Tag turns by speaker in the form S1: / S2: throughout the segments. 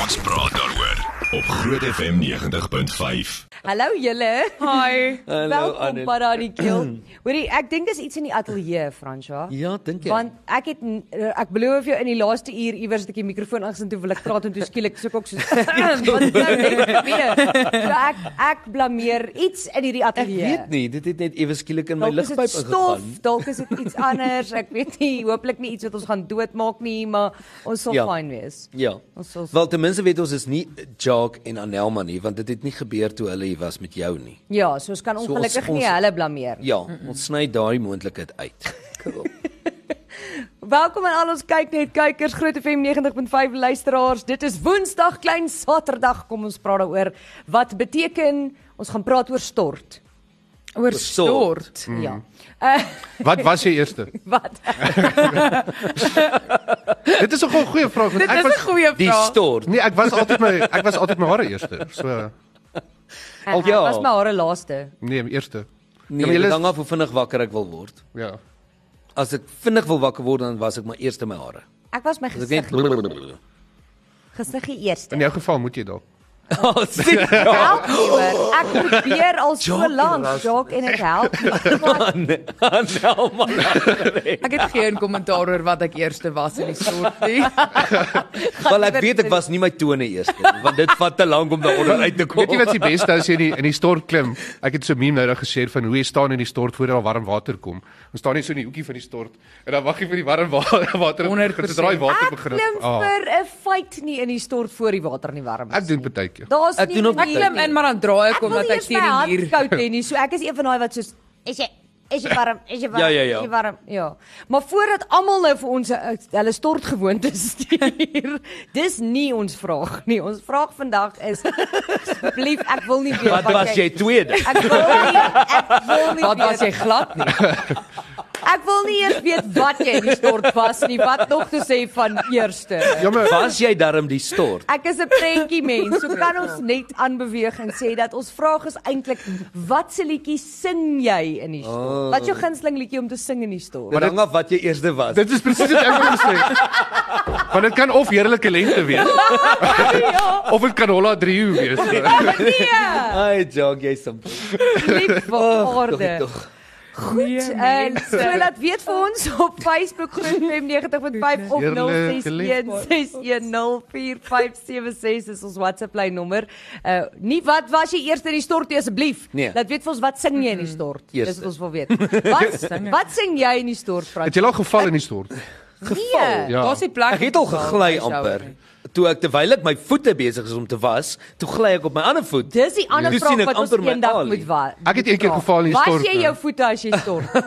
S1: Ons praat daaroor op Groot FM 90.5.
S2: Hallo julle.
S3: Hi.
S4: Hallo,
S2: Welkom
S4: Annette.
S2: by daardie keel. Hoorie, ek dink dis iets in die ateljee, Franswa.
S4: Ja, dink jy?
S2: Want ek het n- eh, ek beloof jou in die laaste uur iewers het ek die mikrofoon aangesit toe wil ek praat en toe skielik soek ek so
S4: Ja.
S2: want nou net weer. So ek ek blameer iets in hierdie
S4: ek
S2: ateljee.
S4: weet nie, dit het net ewe skielik in my
S2: Ja. Dalk is dit
S4: ligpyp
S2: stof,
S4: ingegaan.
S2: dalk is dit iets anders. Ek weet nie, hooplik nie iets wat ons gaan doodmaak nie, maar ons sal
S4: Ja.
S2: fyn wees.
S4: Ja.
S2: Ons sal
S4: Wel ten minste weet ons is nie Jacques en Anelma nie, want dit het nie gebeur toe hulle hier was met jou nie.
S2: Ja, so ons kan
S4: So ons-
S2: ongelukkig nie
S4: ons-
S2: hulle blameer nie.
S4: Ja, ons sny daai moontlikheid uit. Cool.
S2: Welkom aan al ons kyk net kykers Groot FM 90.5 luisteraars. Dit is Woensdag klein Saterdag. Kom ons praat daaroor wat beteken ons gaan praat oor stort.
S3: Oor
S4: Stort.
S3: stort.
S2: Ja. Uh,
S5: Mm. Wat was die eerste?
S2: wat?
S5: Dit is 'n goeie- goeie vraag want
S3: Dit
S5: ek
S3: is 'n
S5: was
S3: goeie
S4: Die
S3: vraag.
S4: stort.
S5: Nee, ek was altyd my ek was altyd my hare eerste. So
S2: Al
S4: ja.
S2: was my hare laaste.
S5: nee, my eerste.
S4: Nee,
S5: maar
S4: dit
S5: julle is-
S4: hang af hoe vinnig wakker ek wil word.
S5: Ja.
S4: As ek vinnig wil wakker word, dan was ek maar eers in my hare.
S2: Ek was my
S4: As ek
S2: gesig
S4: net
S2: gesiggie
S5: In
S2: eerste.
S5: jou geval moet jy dalk.
S4: Oh, sien.
S5: Ja.
S2: Help nie hoor. Ek probeer al so lank, Jacques, en dit help nie. Maar
S4: Anelma.
S3: Ek het geen kommentaar oor wat ek eerste was in die stort nie.
S4: Wel ek weet ek was nie my tone eers nie, want dit vat te lank om daaronder uit te kom.
S5: Weet jy wat die beste is hier in die, in die stort klim? Ek het so 'n meme nou daag gesê van hoe jy staan in die stort voordat daar warm water kom. Ons staan net so in die hoekie van die stort en dan wag jy vir die warm wa- water om
S3: 100%.
S5: te draai water
S2: ek
S5: begin.
S2: klim
S5: Ah,
S2: vir 'n fight nie in die stort voor die water nie warm
S5: ek
S2: is.
S5: doen baie keer.
S2: Daar's
S4: Ek
S2: nie
S4: doen op-
S3: Ek klim in maar dan draai ek omdat ek teen die muur.
S2: koud hê nie. So ek is een van daai wat soos is jy is jy warm? Is jy warm?
S4: Ja, ja, ja.
S2: Is jy warm? Ja. Maar voordat almal nou vir ons 'n- hulle stort gewoontes stuur, dis nie ons vraag nie. Ons vraag vandag is asseblief ek wil nie weet
S4: Wat was jy tweede?
S2: Ek wil nie ek wil nie
S3: Wat was
S2: weet-
S3: jy glad nie?
S2: Ek wil nie eers weet wat jy in die stort was nie. Wat nog te sê van eerste?
S5: Ja, maar
S4: Was jy darm die stort?
S2: Ek is 'n prentjie mens, so kan ons
S4: Ja.
S2: net aanbeweeg en sê dat ons vraag is eintlik watse liedjie sing jy in die stort? Oh. Wat is jou gunsteling liedjie om te sing in die stort?
S4: Dit hang af wat jy eerste was.
S5: dit is presies wat ek wou sê. Want dit kan of heerlike lente wees
S2: ja,
S5: of dit kan Holla 3 uur wees.
S2: nee,
S4: Ai, jog, jy simpel.
S2: lief vir
S4: Oh,
S2: orde.
S4: tog. Nee,
S2: Goed, en so laat weet vir ons op Facebook groep M90.5 of
S5: Heerlike
S2: 0616104576 is ons WhatsApp lyn nommer. Uh nie wat was jy eers in die stort nie asseblief.
S4: Nee.
S2: Laat weet vir ons wat sing jy in die stort? Dis
S4: Eerste.
S2: wat ons wil weet. Wat wat sing jy in die stort, Frans?
S5: Het jy al geval in die stort?
S2: Nee.
S5: Ja.
S3: Daar's die plek.
S4: Ek het al gegly amper. Toe ek terwyl ek my voete besig is om te was, toe gly ek op my ander voet.
S2: Dis die ander
S4: Toe sien
S2: vraag
S4: ek
S2: wat ons
S4: amper my
S2: eendag
S4: alie.
S2: moet wa.
S5: Ek het een keer geval in die
S2: Was
S5: stort,
S2: jy
S5: né?
S2: jou voete as jy stort?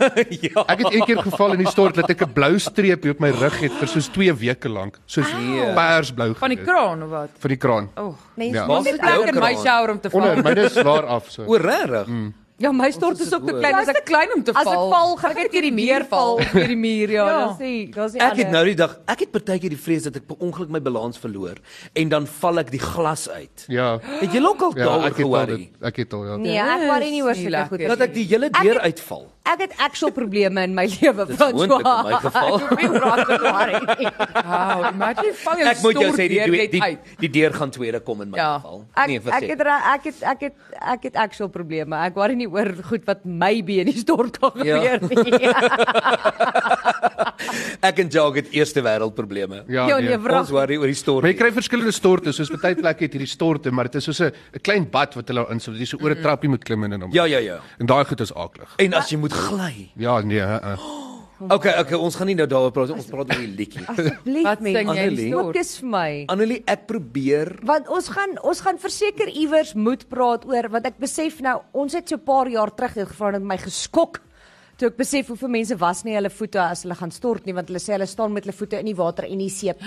S4: ja.
S5: Ek het een keer geval in die stort dat ek 'n blou streep hier op my rug het vir soos 2 weke lank, soos persblou
S3: Van die
S5: gewees.
S3: kraan of wat?
S5: van die kraan.
S3: Oeg.
S2: Mense,
S5: Ja.
S2: ja.
S3: Ons het plek in my shower om te
S5: Onder
S3: val.
S5: myne is waar af so.
S4: O, regtig? Mm.
S2: ja, my stort
S4: Ons
S2: is
S4: is
S2: ook te
S4: hoor.
S2: klein
S3: As
S2: as
S3: ek
S2: ek
S3: klein om te
S2: as
S3: val.
S2: ek val, gaan ek net teen die muur val, teen die muur ja,
S3: Ja.
S2: dan sê, dan sê
S4: Ek het nou die dag, ek het partykeer die vrees dat ek per ongeluk my balans verloor en dan val ek die glas uit.
S5: Ja.
S4: Het jy ook al
S5: Ja,
S4: daaroor
S5: ek het al
S4: gehoor?
S5: dit, ek het al ja.
S2: Nee, ek worry nie oor
S3: Dis nie
S2: sulke goed.
S3: lekker.
S4: Dat ek die hele
S2: Ek
S4: deur
S2: het-
S4: uitval.
S2: Ek het actual probleme in my lewe
S4: Dis
S2: François.
S4: moontlik in my geval.
S2: Ek hoef nie praat te worry.
S3: Wow, imagine val jou
S4: Ek moet jou
S3: stort
S4: sê die
S3: weer
S4: deur-
S3: net
S4: die
S3: uit.
S4: die deur gaan tweede kom in my
S3: Ja.
S4: geval.
S2: Ek
S4: Nee,
S2: ek
S4: verseker.
S2: het ra- ek het ek het ek het actual probleme. Ek worry nie oor goed wat maybe in die stort kan
S4: Ja.
S2: gebeur nie.
S4: Ek en Jog het eerste wêreld probleme.
S5: Ja.
S2: Ja, nee,
S5: nee.
S2: wrag.
S4: Ons worry oor die
S5: Maar jy
S4: stort.
S5: kry verskillende storte, soos baie plekke het hierdie storte, maar dit is soos 'n 'n klein bad wat hulle insit, dis so oor 'n trappie moet klim en dan.
S4: Ja, ja, ja.
S5: En daai goed is aklig.
S4: En as jy moet gly.
S5: Ja, nee, uh, uh.
S4: Okay, okay, ons gaan nie nou daaroor praat, nie, ons praat oor die liedjie.
S2: Asseblief
S3: Wat
S2: mense,
S3: sing jy in die
S4: Annelie.
S3: stort?
S2: fokus vir my.
S4: Annelie, ek probeer
S2: Want ons gaan ons gaan verseker iewers moet praat oor want ek besef nou ons het so 'n paar jaar terug hier gevra en dit het my geskok toe ek besef hoeveel mense was nie hulle voete as hulle gaan stort nie want hulle sê hulle staan met hulle voete in die water en die seep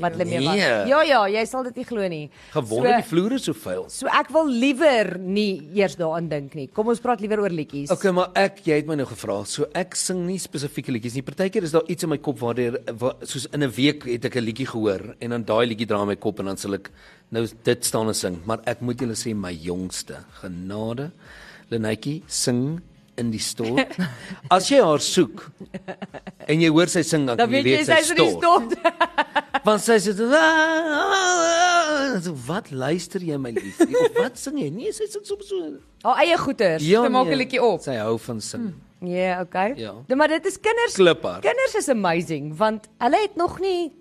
S2: wat hulle mee was.
S4: Nee.
S2: Ja ja, jy sal dit nie glo nie.
S4: gewonder so, die vloere so vuil.
S2: so, so ek wil liewer nie eers daaraan dink nie. Kom ons praat liewer oor liedjies.
S4: Okay, maar ek jy het my nou gevra, so ek sing nie spesifieke liedjies nie. Partykeer is daar iets in my kop waardeur wa, soos in 'n week het ek 'n liedjie gehoor en dan daai liedjie dra in my kop en dan sal ek nou dit staan en sing, maar ek moet julle sê my jongste, genade, Lenetjie sing in die stort. As jy haar soek en jy hoor sy sing dan,
S2: Dan
S4: kan jy
S2: weet jy
S4: weet
S2: sy's in die stort.
S4: Want sy sê "Ah, ah, ah," Ja, so wat luister jy my lief? Of wat sing jy? Nee, sy sing soms so.
S2: Haar eie goeters.
S4: Ja,
S3: Sy maak 'n liedjie op. Hmm.
S4: Sy hou van sing.
S2: Ja, yeah, okay.
S4: Ja.
S2: Dit- Maar dit is kinders.
S4: Kliphard.
S2: Kinders is amazing want hulle het nog nie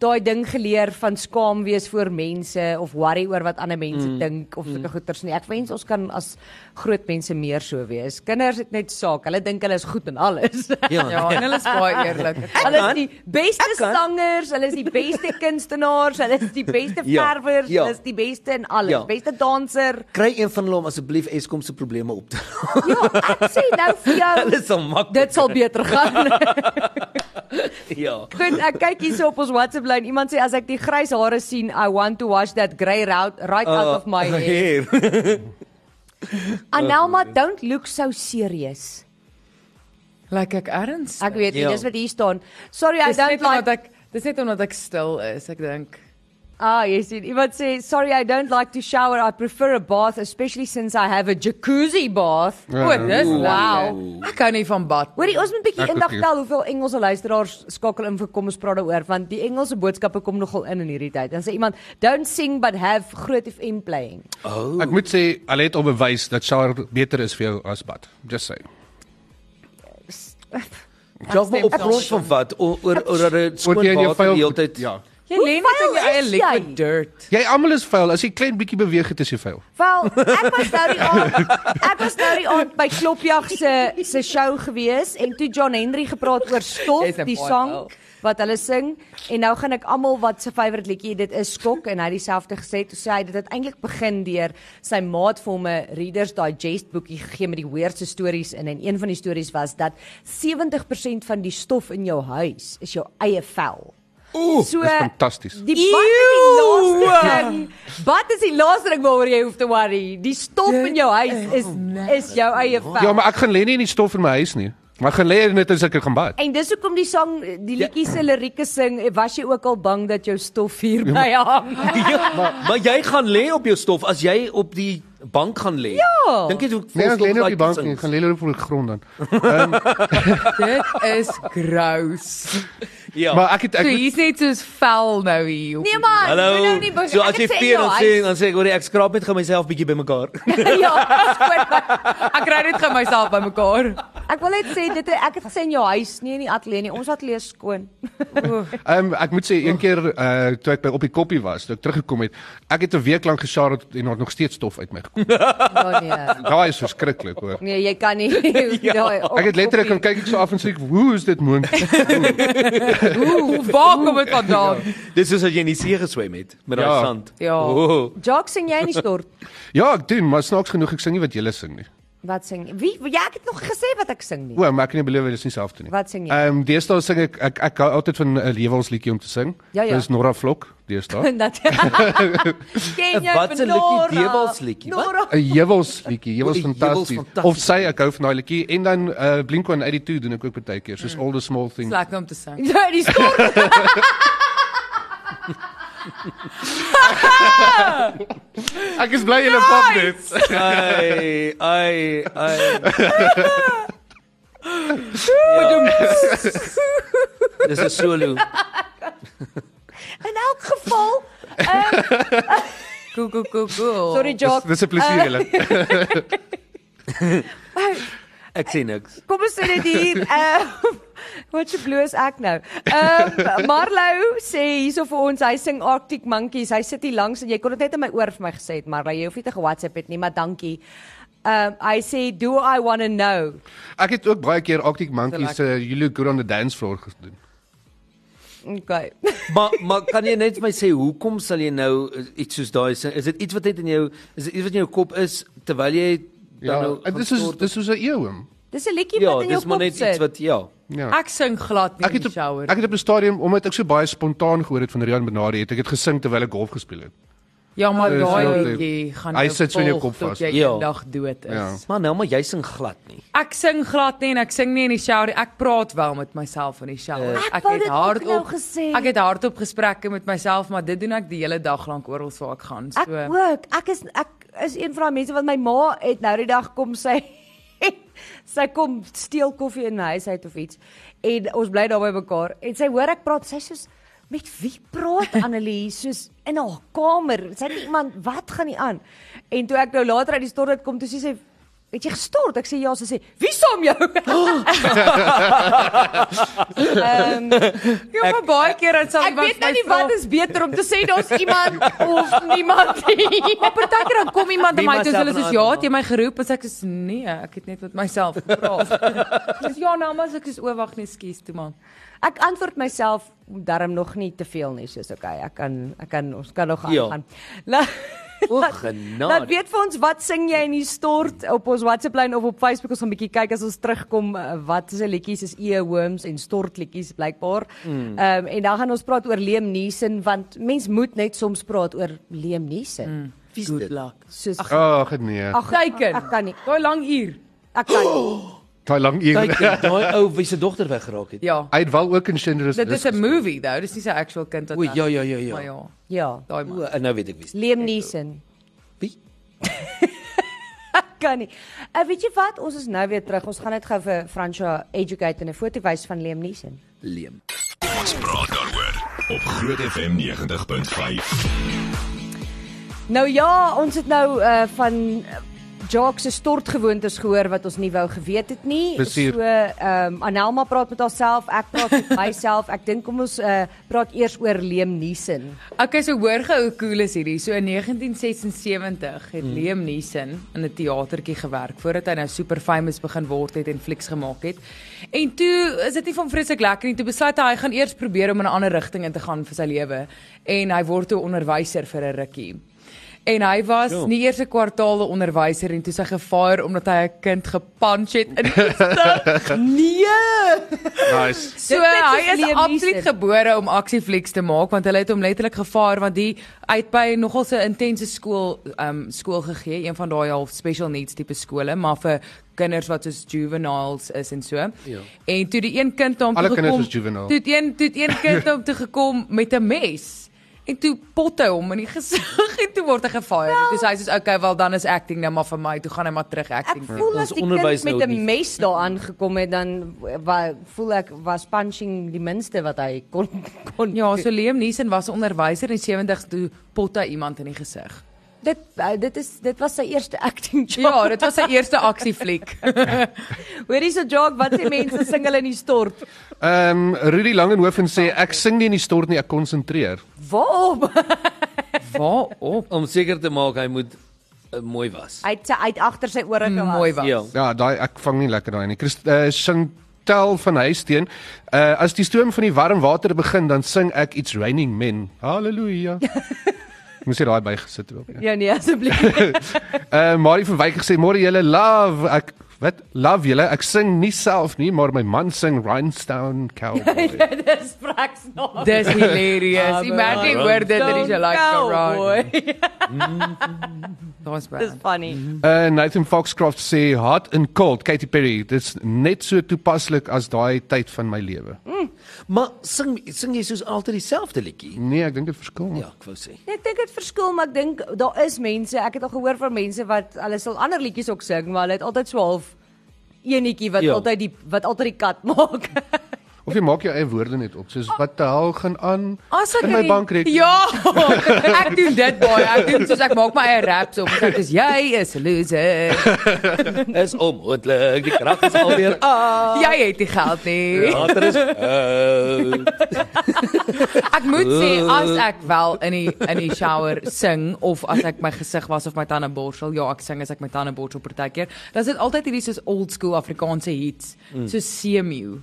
S2: daai ding geleer van skaam wees voor mense of worry oor wat ander mense mm. dink of sulke mm. goeters nie. Ek wens ons kan as groot mense meer so wees. Kinders het net saak. Hulle dink hulle is goed in alles.
S4: Ja.
S3: Ja, en hulle is baie eerlik.
S2: Hulle is die beste
S4: kan.
S2: sangers, hulle is die beste kunstenaars, hulle is die beste
S4: Ja,
S2: verwers,
S4: ja.
S2: hulle is die beste in alles,
S4: Ja.
S2: beste danser.
S4: Kry een van hulle om asseblief Eskom se probleme op
S3: Ehm,
S4: te.
S2: Ja, ek sê nou vir jou,
S4: Hulle sal mak.
S2: dit sal beter gaan.
S4: ja.
S2: Goed, ek kyk hierso op ons WhatsApp lyn. Iemand sê as ek die grys hare sien, I want to wash that grey out right
S4: Uh,
S2: out of my
S5: Uh,
S2: head.
S4: hair.
S2: Anelma, don't look so serious.
S3: Lyk ek erns?
S2: Ek weet nie,
S4: Ja.
S2: dis wat hier staan. Sorry, I
S3: Dis net
S2: don't like
S3: omdat ek dis net omdat ek stil is, ek dink.
S2: Ah, jy sien, iemand sê, "Sorry, I don't like to shower. I prefer a bath, especially since I have a jacuzzi bath."
S4: Ja.
S3: O, dis
S2: Oeh.
S3: wow. Ek kan nie van bad.
S2: Hoorie, ons moet 'n bietjie
S5: Ek
S2: indag
S5: ook nie.
S2: tel hoeveel Engelse luisteraars skakel in vir kom ons praat daaroor, want die Engelse boodskappe kom nogal in in hierdie tyd. Dan sê iemand, "Don't sing but have Groot FM playing."
S4: Oh.
S5: Ek moet sê, hulle het al bewys dat shower beter is vir jou as bad. Just say.
S4: Dalk maar
S3: stem
S4: op grond van wat oor oor oor dat dit skoon
S5: Word jy in jou
S4: water
S5: vuil
S4: die hele tyd.
S5: Ja.
S3: Jy
S2: Hoe
S3: lê net in jou
S2: vuil
S3: eie
S2: is
S3: liquid
S2: jy?
S3: dirt.
S5: Jy almal is vuil. As jy klein bietjie beweeg het is jy vuil.
S2: Wel, ek was nou die aand, ek was nou die aand by Klopjag se se show gewees en toe John Henry gepraat oor
S3: Jy's
S2: stof,
S3: een
S2: die
S3: paai
S2: sang
S3: wel.
S2: wat hulle sing en nou gaan ek almal wat se favourite liedjie dit is skok en hy het dieselfde gesê toe sê hy dit het eintlik begin deur sy maat vir hom 'n readers digest boekie gegee met die weirdste stories in en een van die stories was dat 70% van die stof in jou huis is jou eie vel. Ooh, so,
S5: dis fantasties.
S2: Die bad is die laaste ding. Bad is die laaste ding waaroor jy hoef te worry. Die stof in jou huis is is jou eie vel.
S5: Ja, maar ek gaan lê nie in die stof in my huis nie. Maar ek gaan lê net as ek gaan bad.
S2: En dis hoekom die sang die
S5: Ja.
S2: liedjie se lirieke sing, was jy ook al bang dat jou stof hier by hang?
S4: Ja, maar, maar jy gaan lê op jou stof as jy op die bank gaan lê. Ja. Dink jy hoe
S5: Nee, ek lê nie op die
S4: like
S5: bank
S4: dit
S5: nie. Ek
S4: is?
S5: gaan lê net op die grond dan.
S3: Dit is gross.
S4: Ja.
S5: Maar ek het
S3: So
S5: ek moet-
S3: hier's net soos vel nou hier. op
S2: Nee man,
S4: Hallo.
S2: moet nou nie begin.
S4: So as jy veel dan sê dan sê ek hoor ek skraap net gou myself bietjie bymekaar.
S2: ja, skoon.
S3: Ek kry dit gaan myself bymekaar.
S2: Ek wil net sê dit ek het gesê in jou huis, nie in die ateljee nie. Ons ateljee is skoon.
S5: Ehm um, ek moet sê een keer uh toe ek by op die koppie was, toe ek teruggekom het, ek het 'n week lank geshower en daar het nog steeds stof uit my gekom.
S2: Ja nee.
S5: Daai is verskriklik hoor.
S2: Nee, jy kan nie. Daai-
S5: Ja. Ek het letterlik gaan kyk ek so af en sê, ek, "Hoe is dit moontlik?"
S3: Ooh, waar kom dit vandaan?
S4: Dis soos as jy in die see geswem het met daai
S5: Ja.
S4: sand.
S3: Ja.
S4: Oh.
S2: Jacques sing jy in die stort?
S5: Ja, ek doen, maar snaaks genoeg ek sing nie wat julle sing nie.
S2: Wat sing jy? Wie jy het nog gesê wat ek sing nie.
S5: O, maar ek kan nie belowe dis nie self toe nie.
S2: Wat sing jy?
S5: Ehm um, deesdae sing ek ek ek hou altyd van 'n lewensliedjie om te sing.
S2: Ja, ja.
S5: Dis Norra Vlok deesdae.
S2: Dat Ken jy
S4: Wat 'n
S2: Benora?
S4: liedjie, Dewelsliedjie, wat?
S2: Nora.
S5: 'n Jewelsliedjie, Jewels
S4: O, 'n
S5: fantasties.
S4: Jewels
S5: Of sy ek hou van daai liedjie en dan uh Blink-182 doen ek ook baie keer,
S3: Mm.
S5: soos All the Small Things.
S3: Slak om te sing.
S2: Ja, die skort.
S5: Ek is bly julle pap dit.
S4: Ai, ai, ai. Dis 'n solo.
S2: In elk geval, ehm um,
S3: Go go go
S4: Oh,
S3: go.
S2: sorry
S5: Dis-
S2: Jock. Eh,
S5: Dis 'n plesier julle.
S4: Ek sê niks.
S2: Kom ons sê dit hier. Ehm wat se bloos ek nou. Ehm Marlou sê hierso vir ons, hy sing Arctic Monkeys. Hy sit hier langs en jy kon dit net in my oor vir my gesê het, Marlou, jy hoef nie te ge-WhatsApp het nie, maar dankie. Ehm hy sê, "Do I want to know?"
S5: Ek het ook baie keer Arctic Monkeys se uh, You Look Good on the Dance Floor gedoen.
S2: Okay.
S4: Maar maar kan jy net vir my sê hoekom sal jy nou iets soos daai sing? Is dit iets wat net in jou is dit iets wat in jou kop is terwyl jy dan
S5: Ja,
S4: nou
S5: en dis is dis is 'n eeuwim.
S2: Dis 'n liedjie
S4: Ja,
S2: wat in jou
S4: dis maar
S2: kop
S4: net
S2: sit.
S4: iets wat ja.
S5: Ja.
S3: Ek sing glad nie
S5: Ek
S3: in
S5: het
S3: die
S5: op,
S3: shower.
S5: ek het op 'n stadium omdat ek so baie spontaan gehoor het van Rian Benardi het ek dit gesing terwyl ek golf gespeel het.
S3: Ja, maar
S5: Dis
S3: daai
S5: heel
S3: liedjie
S5: diep.
S3: gaan
S5: Hy
S3: jou
S5: sit so in jou
S3: volg
S5: kop
S3: tot
S5: vas.
S3: Jy
S4: Ja.
S3: eendag dood is.
S5: Ja.
S4: Maar nou maar jy sing glad nie.
S3: Ek sing glad nie en ek sing nie in die shower. nie. Ek praat wel met myself in die shower.
S2: Ek wou dit ook nou gesê.
S3: Ek het hardop gesprekke met myself, maar dit doen ek die hele dag lank oral waar ek gaan. So
S2: Ek ook. Ek is ek is een van daai mense wat my ma het nou die dag kom sy sy kom steel koffie in my huis uit of iets en ons bly daar by mekaar en sy hoor ek praat sy sê soos Met wie praat Annelies soos in haar kamer? Sy het nie iemand wat gaan nie aan. En toe ek nou later uit die stort uit kom, toe sê sy Het jy gestort? Ek sê ja, sy sê, "Wie saam jou?" Ehm,
S3: Ja, maar baie keer dan sal
S2: Ek weet nou nie wat is beter om te sê daar's iemand of niemand nie.
S3: Maar partykeer dan kom iemand
S4: Wie
S3: na my toe
S4: myself
S3: en hulle sê
S4: in
S3: ja,
S4: haar-
S3: het jy my geroep as ek sê nee, ek het net met myself gepraat. Dis ja, nou maar as ek is o wag nee, skus toe man.
S2: Ek antwoord myself darm nog nie te veel nie, soos okay, ek kan ek kan ons kan nog
S4: Ja.
S2: aangaan. La
S4: O,
S2: laat-
S4: genade.
S2: Laat weet vir ons wat sing jy in die stort op ons WhatsApp lyn of op Facebook ons gaan 'n bietjie kyk as ons terugkom eh, wat se liedjies is eeworms en stortliedjies blykbaar. Ehm um, en dan gaan ons praat oor Liam Neeson want mens moet net soms praat oor Liam Neeson. Mm.
S4: Wie's
S3: Good
S4: dit?
S3: luck.
S2: Soos ag
S5: Ag nee.
S3: Teiken.
S2: ek kan nie.
S3: Daai lang uur.
S2: Ek kan nie.
S5: Daai lang
S4: Kyk,
S5: uur.
S4: daai ou wie se dogter weggeraak het.
S3: Ja.
S5: Hy het wel ook in Schindler's
S3: Dit is 'n movie though. Dis nie sy actual kind wat
S4: O,
S3: ek-
S4: ja, ja, ja, ja.
S3: Maar ja,
S2: Ja.
S3: daai
S4: O,
S3: man.
S4: en nou weet ek wie's.
S2: Liam Neeson.
S4: Wie?
S2: kan nie. Uh, weet jy wat? Ons is nou weer terug. Ons gaan net gou vir Fransha educate en 'n foto wys van Liam Neeson.
S4: Leem.
S1: Ons praat daaroor op Groot FM 90.5.
S2: Nou ja, ons het nou uh van uh, Jacques se stortgewoontes gehoor wat ons nie wou geweet het nie.
S5: Plesier.
S2: So ehm um, Anelma praat met haarself, ek praat met myself. Ek dink kom ons uh praat eers oor Liam Neeson.
S3: Okay, so hoor gou hoe cool is hierdie. So in 1976 het mm. Liam Neeson in 'n teatertjie gewerk voordat hy nou super famous begin word het en flieks gemaak het. En toe is dit nie van vreeslik lekker nie. Toe besluit hy hy gaan eers probeer om in 'n ander rigting in te gaan vir sy lewe en hy word toe onderwyser vir 'n rukkie. En hy was
S4: Ja.
S3: nie eers 'n kwartaal 'n onderwyser en toe sy gefire omdat hy 'n kind gepunch het in die stad. nee!
S5: Nice.
S3: So
S2: Dit net soos
S3: hy is
S2: Liam
S3: absoluut
S2: Neeson.
S3: gebore om aksieflieks te maak want hulle het hom letterlik gevaar want die uit by nogal so intense skool um skool gegee, een van daai half special needs tipe skole, maar vir kinders wat soos juveniles is en so. Ja. En toe die een kind hom
S5: Alle
S3: toe
S5: kinders
S3: gekom-
S5: is juvenile.
S3: Toe het een toe het een kind hom toe gekom met 'n mes. En toe pot hy hom in die gesig en toe word hy gefire. Well, toe sê hy soos okay, wel dan is acting nou maar vir my, toe gaan hy maar terug
S2: Ek
S3: acting. doen.
S2: voel
S4: Ons
S2: as die
S4: onderwys
S2: kind
S4: nou
S2: met 'n
S4: nie.
S2: mes daaraan gekom het dan wa, voel ek was punching die minste wat hy kon kon
S3: Ja, so Liam Neeson was 'n onderwyser in 70s toe pot hy iemand in die gesig.
S2: Dit uh, dit is dit was sy eerste acting job.
S3: Ja, dit was sy eerste aksiefliek.
S2: Ja. Hoorie so joke wat die mense sing hulle in die stort.
S5: Ehm Rudy Langenhoven sê ek sing nie in die stort nie, ek konsentreer.
S2: Waarop?
S3: Waarop?
S4: Om seker te maak hy moet uh, mooi was.
S2: Hy het sy uit agter sy ore gewas.
S3: Mm, Mooi was.
S4: Ja.
S5: Ja, daai ek vang nie lekker daai nie. Christ, uh, Chantel van Huisteen, uh, as die stoom van die warm water begin, dan sing ek iets Raining Men. Halleluja. Moes jy daai bygesit het op. Ja.
S2: Ja nee, asseblief.
S5: Uh Marie van Wyk het gesê môre julle love ek wat love julle. Ek sing nie self nie, maar my man sing Rhinestone Cowboy.
S2: Dis praks nog.
S3: Dis
S2: Ja,
S3: hilarious. Imagine hoor dit en is jy like around. Daar's baie.
S2: Dis funny.
S5: Uh Nathan Foxcroft sê Hot and Cold Katy Perry. Dit's net so toepaslik as daai tyd van my lewe.
S4: Maar sing sing jy soos altyd dieselfde liedjie?
S5: Nee, ek dink dit verskil. Ja.
S4: Ja, ek wou sê.
S2: Nee, Ek dink dit verskil, maar ek dink daar is mense, ek het al gehoor van mense wat hulle sal ander liedjies ook sing, maar hulle het altyd so half enetjie wat
S4: Ja.
S2: ja. altyd die wat altyd die kat maak.
S5: Of jy maak jou eie woorde net op, soos wat die hel gaan aan
S3: As ek
S5: in my
S3: hierdie-
S5: bankrekening.
S3: Ja, ek doen dit baie. Ek doen soos ek maak my eie raps op. Dit is jy is 'n loser.
S4: Is onmoontlik. Die krag is alweer af.
S3: Jy het nie geld nie.
S4: Water is koud.
S3: Ek moet sê as ek wel in die in die shower sing of as ek my gesig was of my tande borsel, ja, ek sing as ek my tande borsel partykeer. Dan is dit altyd hierdie soos old school Afrikaanse hits, so seemeeu.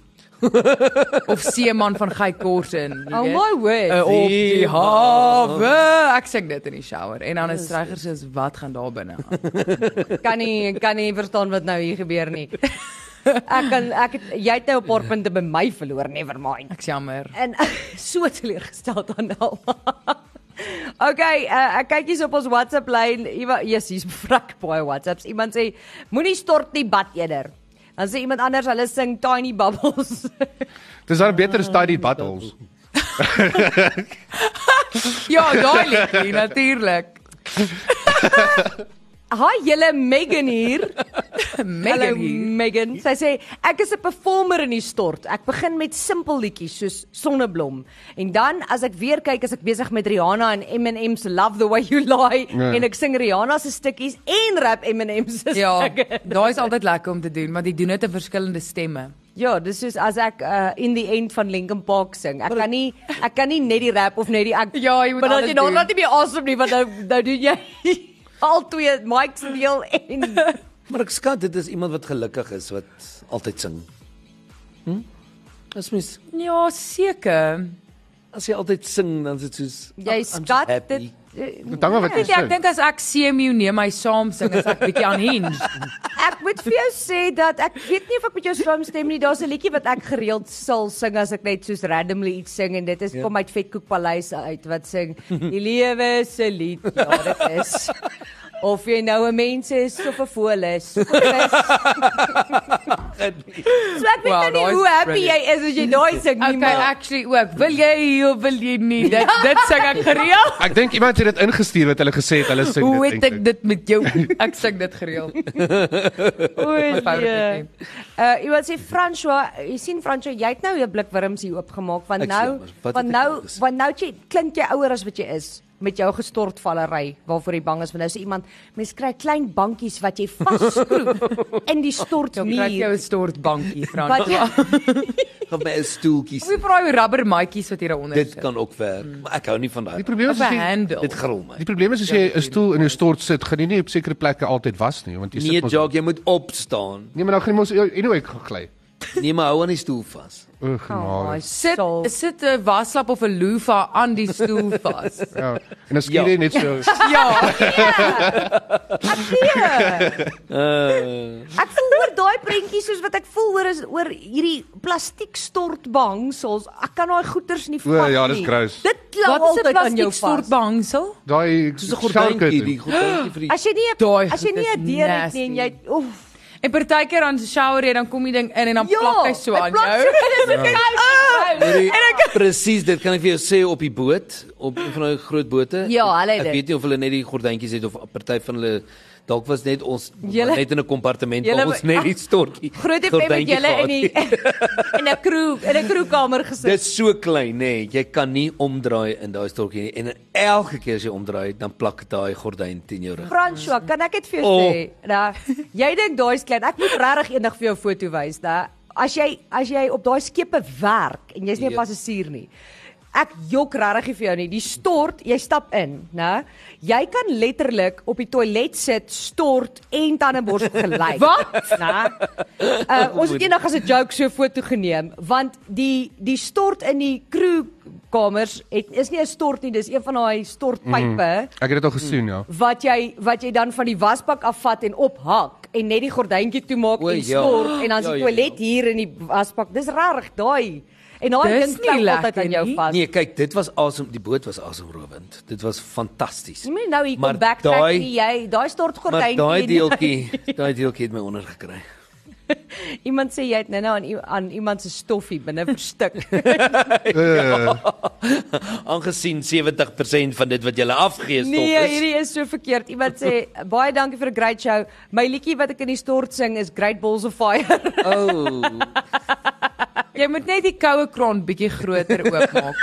S3: of seeman van Gey Korsen.
S2: Oh my word.
S3: Uh, op
S4: Die
S3: die hawe. Ek sing dit in die shower en dan is regtig soos wat gaan daar binne aan?
S2: kan nie kan nie verstaan wat nou hier gebeur nie. Ek kan ek het, jy het nou 'n paar punte by my verloor, never mind.
S3: Ek's jammer.
S2: En so teleurgesteld aan Alma. Okay, uh, ek kyk hier so op ons WhatsApp lyn. Iwa- Yes, hier's vrek baie WhatsApps. Iemand sê moenie stort nie bad eerder. Dan sê iemand anders hulle sing Tiny Bubbles.
S5: Dis dan beter as daai die battles.
S3: Ja, daai liedjie natuurlik.
S2: Hi julle Megan hier.
S3: Megan hier.
S2: Megan. Sy sê ek is 'n performer in die stort. Ek begin met simpel liedjies soos Sonneblom en dan as ek weer kyk is ek besig met Rihanna en Eminem se Love the Way You Lie
S5: Nee.
S2: en ek sing Rihanna se stukkies en rap Eminem se
S3: Ja,
S2: stukke.
S3: daai is altyd lekker om te doen, want die doen dit in verskillende stemme.
S2: Ja, dis soos as ek uh, in die end van Linkin Park sing. Ek kan nie ek kan nie net die rap of net die ek
S3: Ja, jy moet
S2: Maar dan
S3: alles
S2: jy nou
S3: doen.
S2: laat nie meer awesome nie want nou nou doen jy al twee mics deel en
S4: Maar ek skat dit is iemand wat gelukkig is wat altyd sing. Hm? As mens
S3: Ja, seker.
S4: as jy altyd sing dan is dit soos "Ah,
S2: jy
S4: I'm just
S2: skat
S4: happy.
S2: dit
S5: Dit hang af wat jy
S3: Weet jy, Ja, ek
S5: sê.
S3: dink as ek CMU neem my saam sing, as ek bietjie unhinged.
S2: Ek moet vir jou sê dat ek weet nie of ek met jou saamstem nie. Daar's 'n liedjie wat ek gereeld sal sing as ek net soos randomly iets sing en dit is kom uit Vetkoek Paleis uit wat sing Die lewe is 'n lied. Ja, dit is. Of jy nou 'n mens is of 'n fool is. of 'n vis. so ek weet
S3: Wow,
S2: wow, nie
S3: daai is
S2: hoe happy jy
S3: brilliant.
S2: is as jy daai sing nie.
S3: Okay,
S2: maar-
S3: actually ook. Wil jy of wil jy nie? Dit dit sing ek gereeld.
S5: Ek dink iemand het dit ingestuur wat hulle gesê het hulle sing
S3: Hoe
S5: dit.
S3: weet ek dit met jou? Ek sing dit gereeld.
S2: O,
S3: favourite
S2: nee.
S3: liedjie.
S2: Uh jy wil sê François, jy sien François, jy het nou jou blik wurms hier oopgemaak want
S4: Ek
S2: nou
S4: sien, maar wat
S2: want
S4: het ek
S2: nou
S4: nou gesê?
S2: want nou jy klink jy ouer as wat jy is met jou gestortvallery waarvoor jy bang is want nou is iemand mens kry klein bankies wat jy vasskroef in die
S3: Jy kry
S2: stortmuur.
S3: jou 'n stortbankie,
S2: Wat
S3: Frans.
S2: jy
S4: gaan by 'n stoeltjie
S3: Hoe
S4: sit.
S3: braai rubber matjies wat hier daaronder
S4: Dit
S3: sit?
S4: kan ook werk, maar ek hou nie van daai.
S5: Die probleem is
S3: Of 'n
S5: as jy
S3: handle.
S4: Dit gril my.
S5: Die probleem is as
S4: Ja,
S5: jy 'n stoel in jou stort sit, gaan jy nie op sekere plekke altyd was nie, want jy sit
S4: Nee,
S5: mos-
S4: Jock, jy moet opstaan.
S5: Nee, maar dan gaan jy mos anyway gly.
S4: Nee, maar hou aan die stoel vas.
S5: O,
S2: oh,
S5: genade.
S2: sit
S3: Sit sit 'n waslap of 'n loofa aan die stoel vas.
S5: Ja. En dan skiet jy
S4: Ja.
S5: net so.
S3: Ja,
S2: hier.
S4: Uh,
S2: Ek voel oor daai prentjies soos wat ek voel oor is oor hierdie plastiek stortbehangsels. Ek kan daai goeters nie vat
S5: O,
S2: nie.
S5: ja, dis gross.
S2: Dit klou
S3: wat is 'n
S2: altyd aan jou
S3: plastiek
S2: vas.
S3: stortbehangsel?
S5: Daai
S4: soos 'n gordynkie, die
S5: die
S4: gordynkie vir die
S2: As jy nie
S3: Daai
S2: as jy
S3: goed
S2: nie
S3: is
S2: 'n deur het nie en
S3: nasty.
S2: jy oef Ja,
S3: En partykeer dan shower jy dan kom die ding in en dan plak hy nou. so aan jou.
S4: Hoorie, Presies, dit kan ek vir jou sê op die boot, op een van daai groot bote.
S2: Ja, hulle het
S4: Ek
S2: dit.
S4: weet nie of hulle net die gordynkies het of 'n party van hulle dalk was net ons
S2: Julle-
S4: net in 'n kompartement
S2: Julle-
S4: waar ons net die stortjie.
S2: Groot FM met
S4: gordynkie
S2: julle in
S4: gehad
S2: die
S4: het.
S2: in 'n kroeg, in 'n kroegkamer gesit.
S4: Dit is so klein, nê. Nee, jy kan nie omdraai in daai stortjie nie. En elke keer as jy omdraai, dan plak daai gordyn teen jou rug.
S2: Franswa, kan ek dit vir jou
S4: Oh.
S2: sê? Da, jy dink daai is klein. Ek moet regtig eendag vir jou 'n foto wys, da. As jy as jy op daai skepe werk en jy's nie 'n
S4: Ja.
S2: passasier nie. Ek jok regtig nie vir jou nie. Die stort, jy stap in, né? Jy kan letterlik op die toilet sit, stort en tandeborsel gelyk. Wat? Né? Uh, ons het eendag as 'n joke so 'n foto geneem want die die stort in die crewkamers het is nie 'n stort nie, dis een van daai
S4: Mhm.
S2: stortpype
S5: Ek het dit al gesien, ja.
S2: wat jy wat jy dan van die wasbak afvat en ophak en net die gordyntjie toemaak
S4: O,
S2: en
S4: ja.
S2: stort en dan is die
S4: Ja, ja, ja.
S2: toilet hier in die wasbak. Dis rarig daai. En daai
S3: Dis
S2: ding
S3: nie
S2: klou altyd
S3: lekker
S2: aan jou
S3: nie.
S2: vas.
S4: Nee, kyk, dit was awesome. Die boot was awesome, Robend. Dit was fantasties.
S2: Jy moet nou hier
S4: Maar
S2: kom backtrack
S4: daai-
S2: nie jy. Daai stort
S4: Maar
S2: gordyntjie.
S4: daai
S2: en-
S4: deeltjie, daai deeltjie het my ondergekry.
S2: Iemand sê jy het nou-nou aan i- aan iemand se stoffie binne verstik.
S4: Aangesien 70% van dit wat jy afgee stop
S2: Nee,
S4: is.
S2: hierdie is so verkeerd. Iemand sê baie dankie vir 'n great show. My liedjie wat ek in die stort sing is Great Balls of Fire.
S4: Oh,
S3: Jy moet net die koue kraan bietjie groter oopmaak.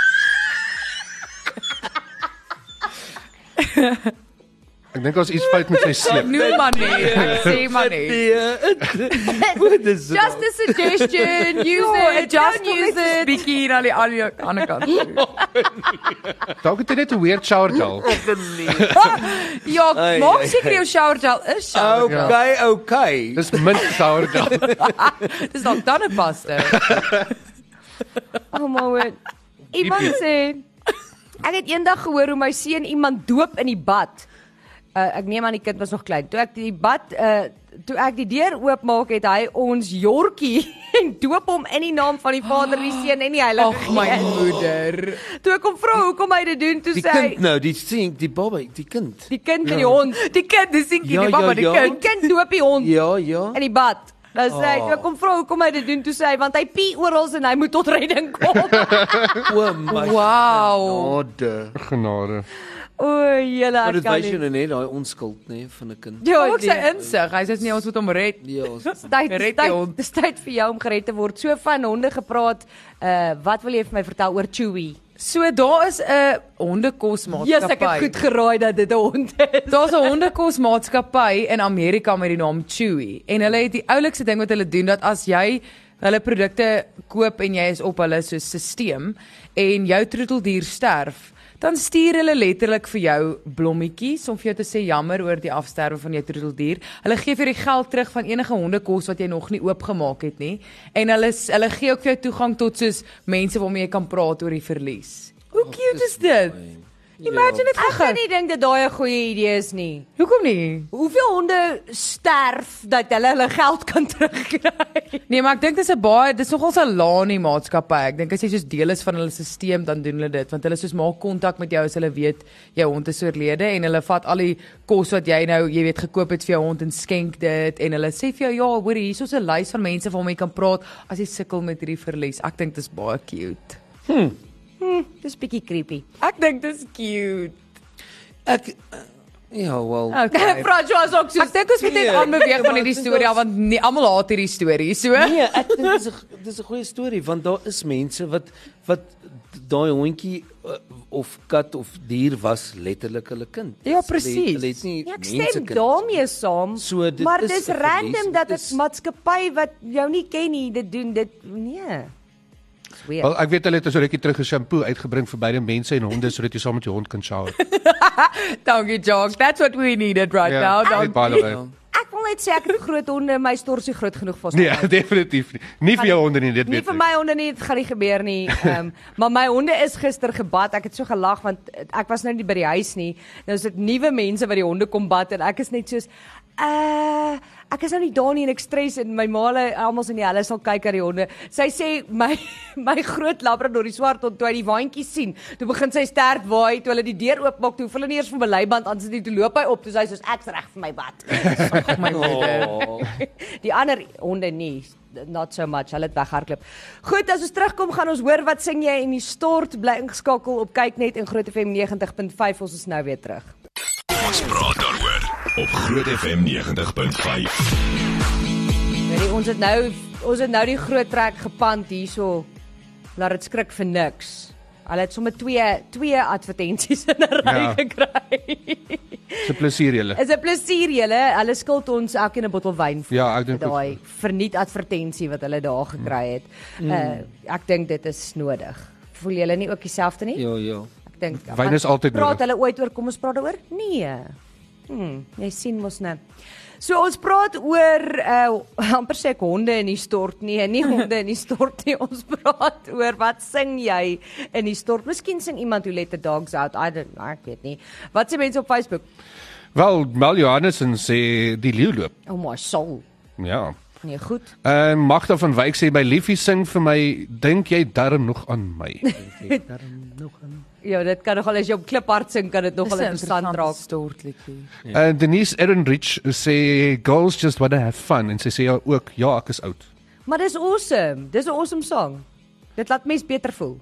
S5: Ek dink daar's iets fout met sy sleep.
S3: Noem maar nee, ek sê maar nee.
S4: wat is dit?
S3: Just a suggestion, use
S2: Ja,
S3: it, just
S2: don't
S3: use it. Bietjie na die ander ander kant. toe.
S5: Dalk het jy net 'n weird shower gel.
S3: Ja,
S4: Ai,
S3: maak
S4: ai,
S3: seker jou shower gel is shower gel.
S4: Okay, okay.
S5: Dis min shower gel.
S3: Dis dalk dan 'n paste.
S2: Oh my word. Iemand sê ek het eendag gehoor hoe my seun iemand doop in die bad. Uh, ek neem aan die kind was nog klein. Toe ek die bad uh toe ek die deur oopmaak het hy ons Jorkie en doop hom in die naam van die Vader, die Seun en die Heilige
S3: Ag my
S2: Gees.
S3: moeder.
S2: Toe ek hom vra hoekom hy dit doen, toe
S4: Die
S2: sê hy
S4: kind nou, die sien, die baba, die kind.
S2: die kind en die hond.
S3: Die kind, dis seentjie,
S4: Ja,
S3: die mamma,
S4: ja,
S3: die
S4: ja.
S2: Die
S3: kind.
S2: kind doop die hond
S4: Ja, ja.
S2: in die bad. Nou sê hy,
S4: Oh.
S2: toe ek hom vra hoekom hy dit doen, toe sê hy want hy pie oral en hy moet tot redding kom.
S4: O my.
S3: Wow.
S4: God.
S5: Genade.
S2: O, julle
S4: Maar
S2: ek
S4: dit
S2: kan
S4: wys jou
S2: nie.
S4: nou net daai onskuld nê van 'n kind.
S2: Ja,
S3: Ook sy
S2: nee.
S3: insig. Hy sê nee, ons moet hom red.
S4: Ja, ons
S2: Dis tyd, dis
S3: Red die
S2: tyd,
S3: hond.
S2: dis tyd vir jou om gered te word. So van honde gepraat. Uh wat wil jy vir my vertel oor Chewy?
S3: So daar is 'n hondekosmaatskappy.
S2: Jesus, ek het goed geraai dat dit 'n hond is.
S3: Daar's 'n hondekosmaatskappy in Amerika met die naam Chewy en hulle het die oulikste ding wat hulle doen dat as jy hulle produkte koop en jy is op hulle so stelsel en jou troeteldier sterf dan stuur hulle letterlik vir jou blommetjies om vir jou te sê jammer oor die afsterwe van jou troeteldier. Hulle gee vir jou die geld terug van enige hondekos wat jy nog nie oopgemaak het nie en hulle s- hulle gee ook vir jou toegang tot soos mense waarmee jy kan praat oor die verlies. Hoe cute is dit? Imagine
S2: Ek
S3: dit
S2: kan
S3: gegaan.
S2: nie dink dat daai 'n goeie idee is nie.
S3: Hoekom nie?
S2: Hoeveel honde sterf dat hulle hulle geld kan terugkry?
S3: Nee, maar ek dink dis 'n baie dis nogal 'n laanie maatskappy. Ek dink as jy soos deel is van hulle stelsel dan doen hulle dit want hulle soos maak kontak met jou as hulle weet jou hond is oorlede en hulle vat al die kos wat jy nou, jy weet, gekoop het vir jou hond en skenk dit en hulle sê vir jou ja, hoor hier, hier's 'n lys van mense waarmee jy kan praat as jy sukkel met hierdie verlies. Ek dink dis baie cute.
S2: Dis bietjie creepy.
S3: Ek dink dis cute.
S4: ek ja, wel.
S3: Okay.
S2: Vra Joas ook so.
S3: Ek dink ons moet net
S4: Nee.
S3: aanbeweeg van
S4: Maar
S3: hierdie
S4: dis
S3: storie af, want nie almal haat hierdie storie. So
S4: Nee, ek dink dis 'n dis 'n goeie storie want daar is mense wat wat daai hondjie uh, of kat of dier was letterlik hulle kind.
S3: Ja,
S4: Hulle het-
S3: presies.
S4: Hulle het nie
S2: Ja, ek
S4: mense
S2: stem
S4: kind.
S2: daarmee saam.
S4: So, dit
S2: maar
S4: is
S2: dis
S4: een verlies,
S2: random
S4: dit
S2: dat 'n
S4: is-
S2: maatskappy wat jou nie ken nie, dit doen dit nee. Dis
S3: Ja.
S2: weird.
S5: Wel, ek weet hulle het so rukkie terug 'n shampoo uitgebring vir beide mense en honde sodat jy saam met jou hond kan shower.
S3: dankie Jock. That's what we needed right now.
S5: Ja,
S3: Dankie.
S5: by the way.
S2: Ek wil net sê ek het groot honde in my storsie groot genoeg vir ons.
S5: Nee, definitief nie. Nie vir jou honde nie, dit
S2: Nie
S5: weet
S2: vir
S5: ek.
S2: my honde nie, dit gaan nie gebeur nie. Ehm, maar my honde is gister gebad. Ek het so gelag want eh, ek was nou nie by die huis nie. Nou is dit nuwe mense wat die honde kom bad en ek is net soos uh ek is nou nie daar nie en ek stres en my ma hulle almal in die hulle sal kyk na die honde. Sy sê my my groot labrador die swart hond toe hy die waantjies sien, toe begin sy sterk waai toe hulle die deur oopmaak, toe hoef hulle nie eers vir my leiband aan sit nie, toe loop hy op, toe sê hy soos ek's reg vir my bad.
S3: my
S4: Oh.
S3: moeder.
S2: Die ander honde nie, not so much. Hulle het weghardloop. Goed, as ons terugkom gaan ons hoor wat sing jy in die stort bly ingeskakel op kyk net in Groot FM 90.5 ons is nou weer terug.
S1: Ons praat daaroor op Groot FM 90.5.
S2: Hoorie, ons het nou ons het nou die groot trek gepand hierso. Laat dit skrik vir niks. Hulle het sommer twee twee advertensies in 'n ry
S5: Ja.
S2: gekry.
S5: Dis 'n plesier julle.
S2: Is 'n plesier julle. Hulle skuld ons elkeen 'n bottel wyn. vir
S5: Ja, ek dink ook
S2: daai verniet advertensie wat hulle daar gekry het.
S5: Mm.
S2: Uh ek dink dit is nodig. Voel julle nie ook dieselfde nie?
S4: Ja, ja.
S2: Ek dink
S5: Wyn is altyd
S2: Praat
S5: nodig.
S2: hulle ooit oor kom ons praat daaroor? Nee. Hm, jy sien mos nou. So ons praat oor uh amper sê ek honde in die stort nie, nie honde in die stort nie. Ons praat oor wat sing jy in die stort? Miskien sing iemand who let the dogs out. I don't know, ek weet nie. Wat sê mense op Facebook?
S5: Wel, Mal Johannessen sê die leeu loop.
S2: Oh my soul.
S5: Ja.
S2: Nee, goed.
S5: En Magda van Wyk sê by Liefie sing vir my, dink jy darm nog aan my?
S2: Ja, dit kan nogal as jy op kliphard sing kan dit nogal interessant raak.
S3: stortliedjie.
S2: Ja.
S5: En Denise Ehrenrich sê girls just want to have fun en sy sê ja, ook ja, ek is oud.
S2: Maar dis awesome. Dis 'n awesome song. Dit laat mense beter voel.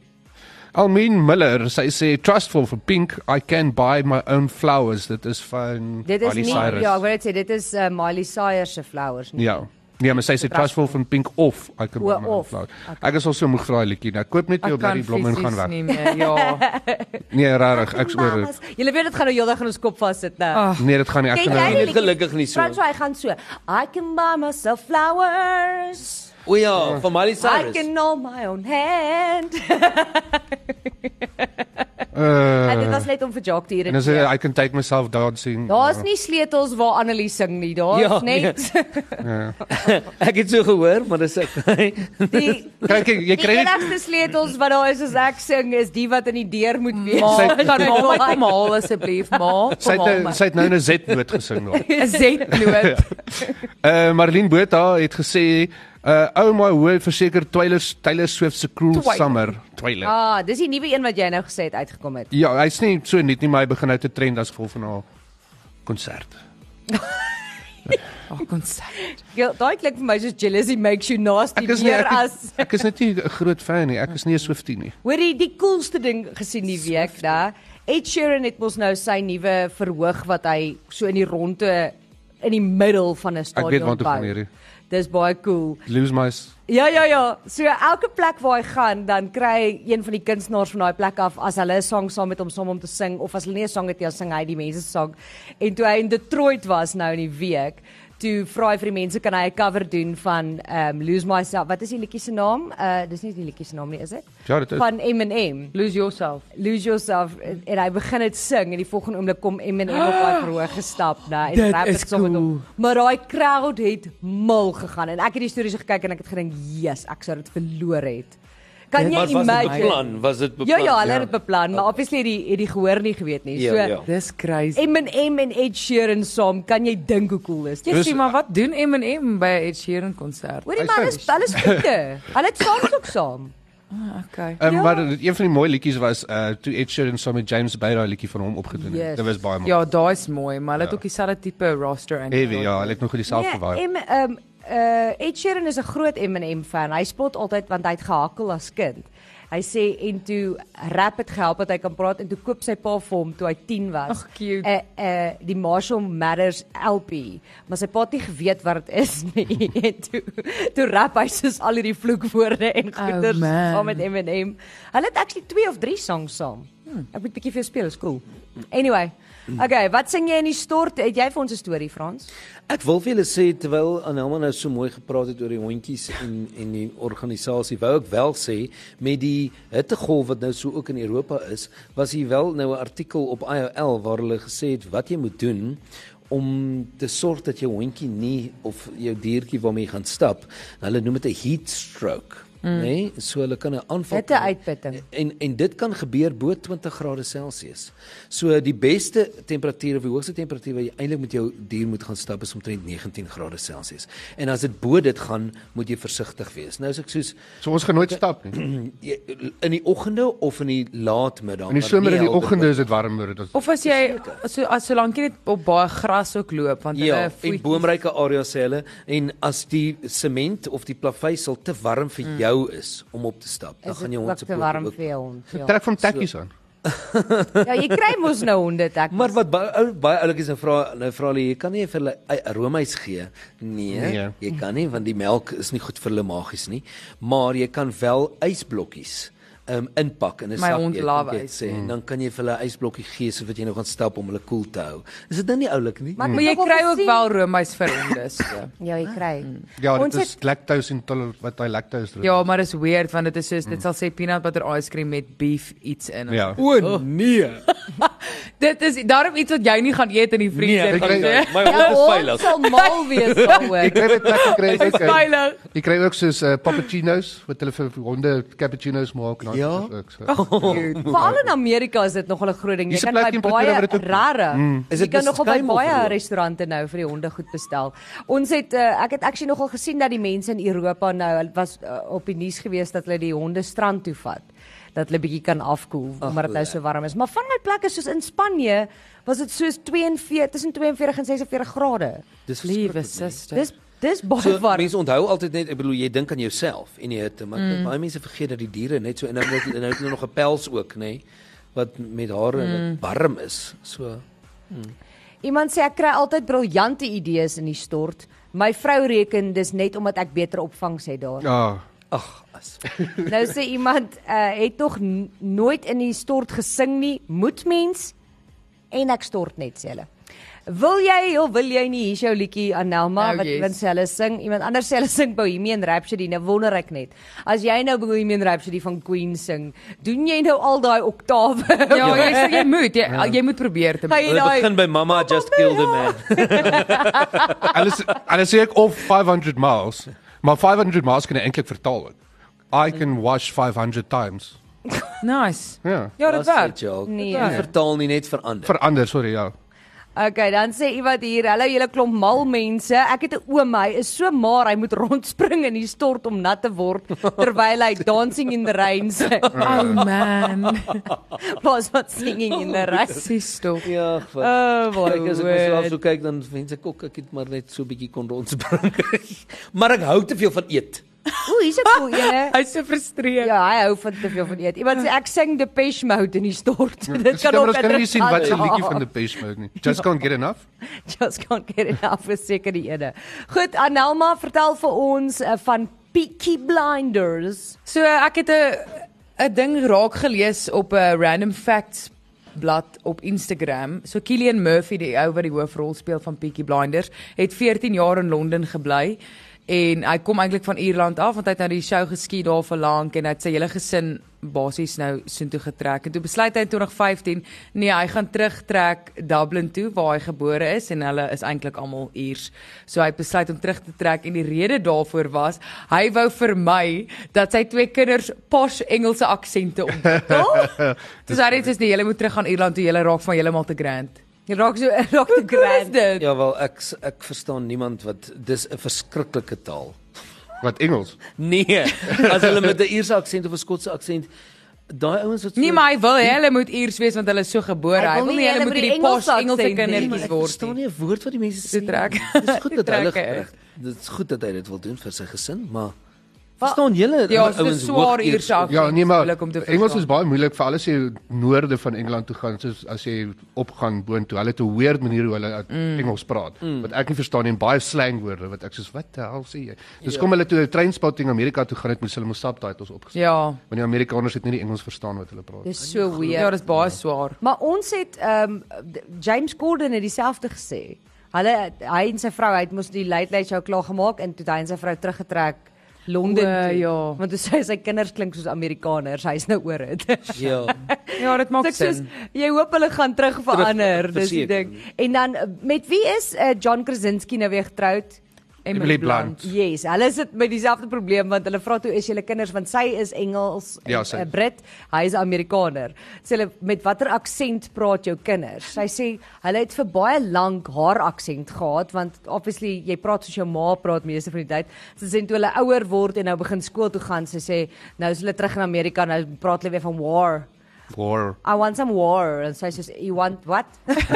S5: Almien Miller, sy sê trustful for pink, I can buy my own flowers. Dit is van
S2: Dit is
S5: Miley
S2: nie
S5: Cyrus.
S2: ja, ek wil net sê dit is uh, Miley Cyrus se Flowers nie.
S5: Ja. Nee, maar sy sê trustful van pink of I can buy
S2: O,
S5: my own
S2: of.
S5: flowers. Ek is al so moeg vir daai liedjie. Nou koop net jou
S3: Ek kan
S5: blomme blomme en gaan
S3: fisies
S5: weg.
S3: nie meer. Ja.
S5: Nee, regtig, ek's oor dit.
S2: Julle weet dit gaan nou heeldag in ons kop vas sit nou.
S3: Ah,
S5: Nee, dit gaan nie ek
S2: Ken
S5: kan
S2: jy
S5: nou.
S2: die
S4: Nee,
S2: liedjie?
S4: gelukkig nie so.
S2: Franswa, hy gaan so. I can buy myself flowers.
S4: O ja, van Miley
S2: I
S4: Cyrus.
S2: can know my own hand.
S5: Eh.
S2: en dit
S5: Uh,
S2: was net om vir Jacques te
S5: en as
S2: irriteer.
S5: I can take myself dancing.
S2: Daar's nie sleutels waar Annelies sing nie. Daar's
S4: Ja,
S2: ja, net
S4: Ek het so gehoor, maar dis ek.
S5: nee.
S2: die
S5: Kyk, kyk, jy
S2: Die
S5: kry dit.
S2: enigste sleutels wat daar is as ek sing is die wat in die deur moet wees.
S3: ma,
S5: Sy-
S3: kan ma my kom haal asseblief, ma.
S5: Sy
S3: Kom
S5: het
S3: haal
S5: nou-
S3: my.
S5: sy het nou 'n Z-noot gesing daar.
S3: 'n Z-noot.
S5: Uh Marlene Botha het gesê, uh oh my word verseker Taylor Taylor Swift se Cruel
S3: Twyler.
S5: Summer. Taylor.
S2: Ah, dis die nuwe een wat jy nou gesê het uitgekom het.
S5: Ja, hy's nie so net nie, maar hy begin nou te trend as gevolg van haar konsert.
S3: Ag, konsert.
S2: Ja, Daai klink vir my soos jealousy makes you nasty
S5: Ek is nie
S2: meer
S5: ek,
S2: as
S5: is- ek is net nie 'n groot fan nie. Ek is nie 'n Swiftie nie.
S2: hoorie die coolste ding gesien die week, da. Ed Sheeran het mos nou sy nuwe verhoog wat hy so in die ronde in die middel van 'n stadion
S5: weet waar toe
S2: bou.
S5: gaan hierdie.
S2: Dis baie cool.
S5: Lose my s-
S2: Ja ja ja, so elke plek waar hy gaan, dan kry hy een van die kunstenaars van daai plek af as hulle 'n song saam met hom saam om te sing of as hulle nie 'n song het nie, dan sing hy die mense se song. En toe hy in Detroit was nou in die week, toe vra hy vir die mense kan hy 'n cover doen van um Lose Myself. Wat is die liedjie se naam? Uh dis nie die liedjie se naam nie, is dit?
S5: Ja, dit is.
S2: Van Eminem.
S3: Lose yourself.
S2: Lose Yourself en, en hy begin dit sing en die volgende oomblik kom Eminem op daai verhoog gestap, né, en
S3: Dit
S2: rap
S3: is
S2: dit saam met hom.
S3: cool.
S2: Maar daai crowd het mal gegaan en ek het die stories gekyk en ek het gedink, "Jesus, ek sou dit verloor het." Kan jy
S4: Maar was dit
S2: imagine?
S4: beplan? Was dit
S2: Ja
S4: beplan?
S2: ja, hulle het dit beplan, maar obviously het die het die gehoor nie geweet nie.
S4: Ja,
S2: So
S4: ja.
S3: Dis crazy.
S2: Eminem en Ed Sheeran saam, kan jy dink hoe cool is dit?
S3: Jy
S5: Dus-
S3: sê maar wat doen M&M by 'n Ed Sheeran konsert?
S2: Hoorie
S5: Hy
S2: maar,
S5: sing.
S2: hulle is hulle is goeie. Hulle het songs ook saam.
S3: Okay.
S5: Ehm
S2: Ja.
S5: um, maar een van die mooi liedjies was uh toe Ed Sheeran saam met James Bay daai liedjie van hom opgedoen het.
S2: Yes.
S5: Yes. Dit was baie mooi. Ja.
S3: Ja, daai is mooi, maar hulle het ook dieselfde tipe roster in.
S5: Heavy, ja, hulle het nog goed dieselfde yeah, gewaai.
S2: Nee, em um uh Ed Sheeran is 'n groot Eminem fan. Hy spot altyd want hy het gehakkel as kind. Hy sê en toe rap het gehelp dat hy kan praat en toe koop sy pa vir hom toe hy 10 was.
S3: Ag, cute.
S2: Uh uh die Marshall Mathers LP, maar sy pa het nie geweet wat dit is nie. en toe toe rap hy soos al hierdie vloekwoorde en
S3: Oh,
S2: goeters
S3: man.
S2: saam met Eminem. Hulle het actually 2 of 3 songs saam. Hmm. Ek moet bietjie vir jou speel, is cool. Anyway, okay, wat sing jy in die stort? Het jy vir ons 'n storie, Frans?
S4: Ek wil vir julle sê terwyl Anelma nou so mooi gepraat het oor die hondjies en en die organisasie, wou ek wel sê met die hittegolf wat nou so ook in Europa is, was hier wel nou 'n artikel op IOL waar hulle gesê het wat jy moet doen om te sorg dat jou hondjie nie of jou diertjie waarmee jy gaan stap, hulle noem dit 'n heat stroke, mm. nê? Nee? So hulle kan 'n aanval
S2: Hitteuitputting.
S4: en en dit kan gebeur bo 20 grade Celsius. So die beste temperatuur of die hoogste temperatuur wat jy eintlik met jou dier moet gaan stap is omtrent 19 grade Celsius. En as dit bo dit gaan, moet jy versigtig wees. Nou as ek soos
S5: So ons gaan nooit stap nie.
S4: jy- in die oggende of in die laatmiddag.
S5: In die
S4: maar
S5: somer in die
S4: nie helder
S5: oggende
S4: word.
S5: is dit warmer. Dit
S3: Of as jy so as solank jy net op baie gras ook loop want
S4: Ja,
S3: hulle
S4: in
S3: voet
S4: boomryke areas sê hulle en as die sement of die plaveisel te warm vir jou is om op te stap, dan
S2: Mm. Is
S4: gaan
S2: dit
S4: jou
S2: ook
S4: hond se
S2: te
S4: pote
S2: warm
S4: ook
S2: vir jou hond? Ja.
S5: trek van tekkies aan.
S2: ja, jy kry mos nou honde tak.
S4: Maar wat baie ou baie oulikies nou vra nou vra hulle jy kan nie vir hulle ei- roomys gee. Nee, nee,
S5: Nee.
S4: jy kan nie want die melk is nie goed vir hulle maagies nie, maar jy kan wel ysblokkies um inpak in 'n
S3: My
S4: sak
S3: hond
S4: jy
S3: love
S4: kan dit
S3: ys.
S4: sê en dan kan jy vir hulle 'n ysblokkie gee sodat jy nou gaan stap om hulle koel te hou. Is dit nou nie oulik nie?
S2: Maar ek
S3: Maar
S2: het
S3: jy
S2: nogal
S3: kry ook
S2: gesien-
S3: wel roomys vir honde so.
S2: Ja,
S4: Ah.
S2: jy kry.
S4: Mm.
S5: Ja, dit
S2: Ons
S5: is lactose intolerant wat hy lactose doen.
S3: Ja, maar dis weird want dit is soos dit sal sê peanut butter ice cream met beef iets in.
S5: Hmm. Ja.
S4: o oh, nee.
S3: Dit is daarom iets wat jy nie gaan eet in die vriezer eh,
S5: ek-
S3: nie.
S5: nee.
S4: my
S2: Jou hond sal mal wees
S5: Jy
S2: daaroor.
S5: kry dit lekker kry
S3: Hy's
S5: ook.
S3: veilig.
S5: Jy kry ook soos uh, pappuccinos wat hulle vir honde cappuccinos maak en
S4: Ja.
S5: dan ook so.
S2: Veral in Amerika is dit nogal 'n groot ding. Jy
S5: Hier's 'n
S2: kan
S5: plek
S2: by
S5: in Pretoria
S2: baie
S5: waar dit ook-
S2: rare.
S4: Hmm. Is
S2: Jy
S4: dit
S2: kan nogal by
S4: beskuim of
S2: baie
S4: hoe?
S2: restaurante nou vir die honde goed bestel. Ons het uh, ek het actually nogal gesien dat die mense in Europa nou hulle was uh, op die nuus gewees dat hulle die honde strand toe vat dat hulle bietjie kan afkoel omdat dit nou so warm is. Maar van my plekke soos in Spanje was dit soos 42 tussen 42 en 46 grade.
S4: Dis
S3: Liewe
S4: verskriklik, nee.
S3: suster.
S2: Dis dis baie
S4: So
S2: warm.
S4: mense onthou altyd net ek bedoel jy dink aan jouself en die hitte, maar
S3: Hmm.
S4: mm. baie mense vergeet dat die diere net so en nou dat nou het hulle nog 'n pels ook, nê, nee, wat met hare en
S3: Hmm.
S4: wat warm is. So
S2: Iemand sê ek kry altyd briljante idees in die stort. My vrou reken dis net omdat ek beter opvangs het daar.
S5: Ja.
S4: ag, as
S2: nou sê iemand uh, het nog n- nooit in die stort gesing nie. Moet mens en ek stort net sê hulle. Wil jy of wil jy nie hier's jou liedjie Anelma
S3: Nou,
S2: wat
S3: yes.
S2: yes. sê hulle sing. Iemand anders sê hulle sing Bohemian Rhapsody. Nou wonder ek net. As jy nou Bohemian Rhapsody van Queen sing, doen jy nou al daai oktawe?
S3: Ja, jy sê jy moet jy, jy moet probeer te.
S2: Gaan jy
S4: hulle
S2: daai
S4: begin by Mama Just Killed a Man.
S5: Alles alles sê ek of 500 miles, maar 500 miles kan jy eintlik vertaal word. I can wash 500 times.
S3: Nice.
S5: Ja.
S3: Ja, dit werk.
S2: Nee.
S4: Nee, vertaal nie net verander.
S5: Verander, sorry, ja.
S2: Okay, dan sê iemand hier, hallo julle klomp mal mense. Ek het 'n oom, hy is so maar, hy moet rondspring in die stort om nat te word terwyl hy Dancing in the Rain sing.
S3: Oh man.
S2: Pas wat singing in the rain.
S3: Sis stop.
S4: Ja, ag, wat.
S3: Oh, my
S4: Kyk as ek myself so kyk dan wens ek ook ek het maar net so 'n bietjie kon rondspring. maar ek hou te veel van eet.
S2: Ooh, hier's 'n cool ene.
S3: Hy's so frustreerd.
S2: Ja, hy hou van te veel van eet. Iemand sê ek sing Depeche Mode in die stort.
S5: Hmm,
S2: Dit kan ook
S5: ons kan nie sien wat se
S2: interessant
S5: liedjie
S2: raak.
S5: van die Best Mode nie. Just can't get enough.
S2: Just can't get enough is seker die ene. Goed, Anelma, vertel vir ons uh, van Peaky Blinders.
S3: So ek het 'n 'n ding raak gelees op 'n random facts blad op Instagram. So Cillian Murphy, die ou wat die hoofrol speel van Peaky Blinders, het 14 jaar in Londen gebly en hy kom eintlik van Ierland af want hy het nou die show geskied daar vir lank en hy het sy hele gesin basies nou soontoe getrek. En toe besluit hy in 2015, nee, hy gaan terugtrek Dublin toe waar hy gebore is en hulle is eintlik almal Iers. So hy het besluit om terug te trek en die rede daarvoor was hy wou vermy dat sy twee kinders posh Engelse aksente ontwikkel. Dis hy het gesê nee, julle moet terug aan Ierland toe, julle raak van heeltemal te grand.
S2: Jy raak so raak te
S3: Grand
S2: grand.
S3: dit.
S4: Ja wel, ek s- ek verstaan niemand wat dis 'n verskriklike taal.
S5: Wat Engels.
S4: Nee, as hulle met 'n Ierse aksent of 'n Skotse aksent daai ouens wat so-
S3: Nee, maar hy wil hê hulle moet Iers wees want hulle is so gebore.
S2: Hy
S3: Hy
S2: wil
S3: wil
S2: nie
S3: nie
S2: hulle
S3: hulle
S2: moet
S3: moet
S2: die
S3: hierdie posh
S2: Engelse
S3: Engelse
S2: aksent hê.
S4: Nee, maar
S3: kindertjies
S4: ek
S3: word.
S4: verstaan
S3: nie.
S4: nie 'n woord wat die mense sê.
S3: Dit trek.
S4: nie. Dis goed dat
S3: Dit
S4: hulle
S3: trek hy
S4: reg. Dit's goed dat hy dit wil doen vir sy gesin, maar verstaan julle
S3: Ja, dit is swaar
S4: hoog-Iers-
S3: Ierse aksent.
S5: Ja, nee maar
S3: moeilik om te
S5: Engels
S3: verstaan.
S5: is baie moeilik vir alles jy noorde van Engeland toe gaan soos as jy opgaan boontoe. Hulle het 'n weird manier hoe hulle mm. Engels praat mm. wat ek nie verstaan nie en baie slangwoorde wat ek soos wat die hel sê jy. Dis kom hulle toe trainspotting Amerika toe gaan het moes hulle mos subtitles opgesit.
S3: Ja.
S5: Want die Amerikaners het nie die Engels verstaan wat hulle praat.
S2: Dis so
S3: Ja,
S2: weird.
S3: dis baie swaar.
S2: Maar ons het ehm um, James Corden het dieselfde gesê. Hulle hy en sy vrou hy het mos die Late Late Show klaar gemaak en toe het hy en sy vrou teruggetrek Londen.
S3: O,
S2: toe.
S3: ja.
S2: Want hy sê sy kinders klink soos Amerikaners. Hy's nou oor dit.
S4: Ja.
S3: Ja, dit maak
S2: Ek sê
S3: sin.
S2: jy hoop hulle gaan terug verander,
S4: Terug,
S2: dis die ding.
S4: verseker.
S2: En dan eh, met wie is uh, John Krasinski nou weer getroud?
S5: Emily Blunt.
S2: Yes, hulle sit met dieselfde probleem want hulle vra toe is julle kinders want sy is Engels, en,
S5: Ja, sy-
S2: eh, Brit, hy is Amerikaner. Sê hulle met watter aksent praat jou kinders? Sy sê hulle het vir baie lank haar aksent gehad want obviously jy praat soos jou ma praat meeste van die tyd. Sy sê toe hulle ouer word en nou begin skool toe gaan, sy sê nou is hulle terug in Amerika, nou praat hulle weer van war.
S5: War.
S2: I want some war and so I says you want what?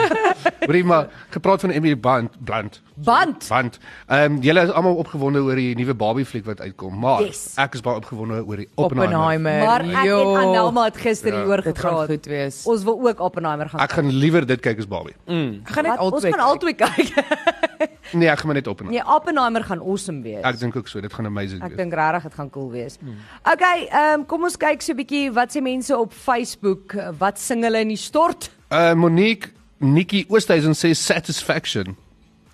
S5: Hoorie maar gepraat van Emily Blunt, Blunt.
S2: Band.
S5: Want ehm um, julle is almal opgewonde oor die nuwe Barbie fliek wat uitkom, maar
S2: Yes.
S5: ek is baie opgewonde oor die Oppenheimer.
S3: Oppenheimer.
S2: Maar ek
S3: Jo,
S2: en Annelma het gister
S5: Ja.
S2: hieroor
S3: dit gaan
S2: gepraat.
S3: goed wees.
S2: Ons wil ook Oppenheimer gaan.
S5: Ek gaan liewer dit kyk as Barbie.
S3: Ek
S2: Wat?
S3: gaan net
S2: ons gaan
S3: altyd
S2: albei kyk.
S5: Nee, ek gaan maar net Oppenheimer.
S2: Nee, Oppenheimer gaan awesome wees.
S5: Ek dink ook so, dit gaan amazing
S2: Ek
S5: wees.
S2: dink regtig dit gaan cool wees. Okay, ehm um, kom ons kyk so 'n bietjie wat sê mense op Facebook, eh, wat sing hulle in die stort?
S5: Uh Monique Nikki Oosthuizen sê satisfaction.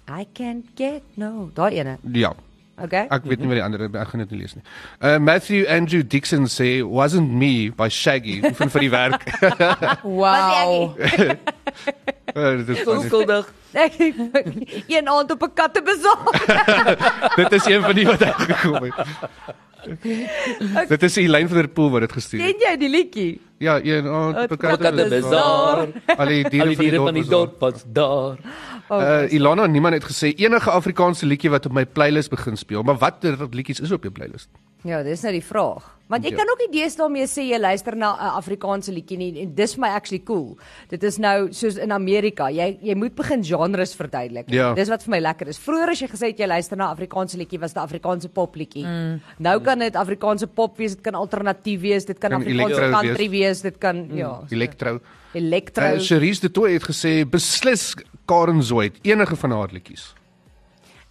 S2: I can't get no. Daai ene.
S5: Ja.
S2: Okay.
S5: Ek weet nie wat die ander ek gaan dit nie lees nie. Uh Matthew Andrew Dixon sê wasn't me by Shaggy oefen vir die werk.
S3: Wow.
S5: uh, dit is funny.
S4: Onskuldig.
S2: Ek een aand op 'n kattebazaar.
S5: dit is een van die wat ek gekom het. Dit is Elaine van der Pool wat dit gestuur
S2: Ken
S5: het.
S2: jy die liedjie?
S5: Ja, een oh,
S2: Wat
S5: bekende
S4: Katte bazaar.
S5: Al die
S4: Al
S5: diere
S4: die diere van die
S5: dorp.
S4: dorp was daar.
S5: Uh Ilana niemand het gesê enige Afrikaanse liedjie wat op my playlist begin speel, maar watter liedjies is op jou playlist?
S2: Ja, dis nou die vraag. Want jy
S5: Ja.
S2: kan ook nie deesdae mee sê jy luister na 'n Afrikaanse liedjie nie en dis my actually cool. Dit is nou soos in Amerika, jy jy moet begin genres verduidelik.
S5: Ja.
S2: Dis wat vir my lekker is. Vroeger as jy gesê het jy luister na 'n Afrikaanse liedjie was dit 'n Afrikaanse popliedjie. Mm. Nou kan dit Afrikaanse pop wees, dit kan alternatief wees, dit kan,
S5: Kan
S2: Afrikaanse
S5: electro
S2: country wees, dit kan mm. ja,
S5: Electro.
S2: elektro.
S5: Uh, Cherise de Tooy het gesê beslis Karen Zoid enige van haar liedjies.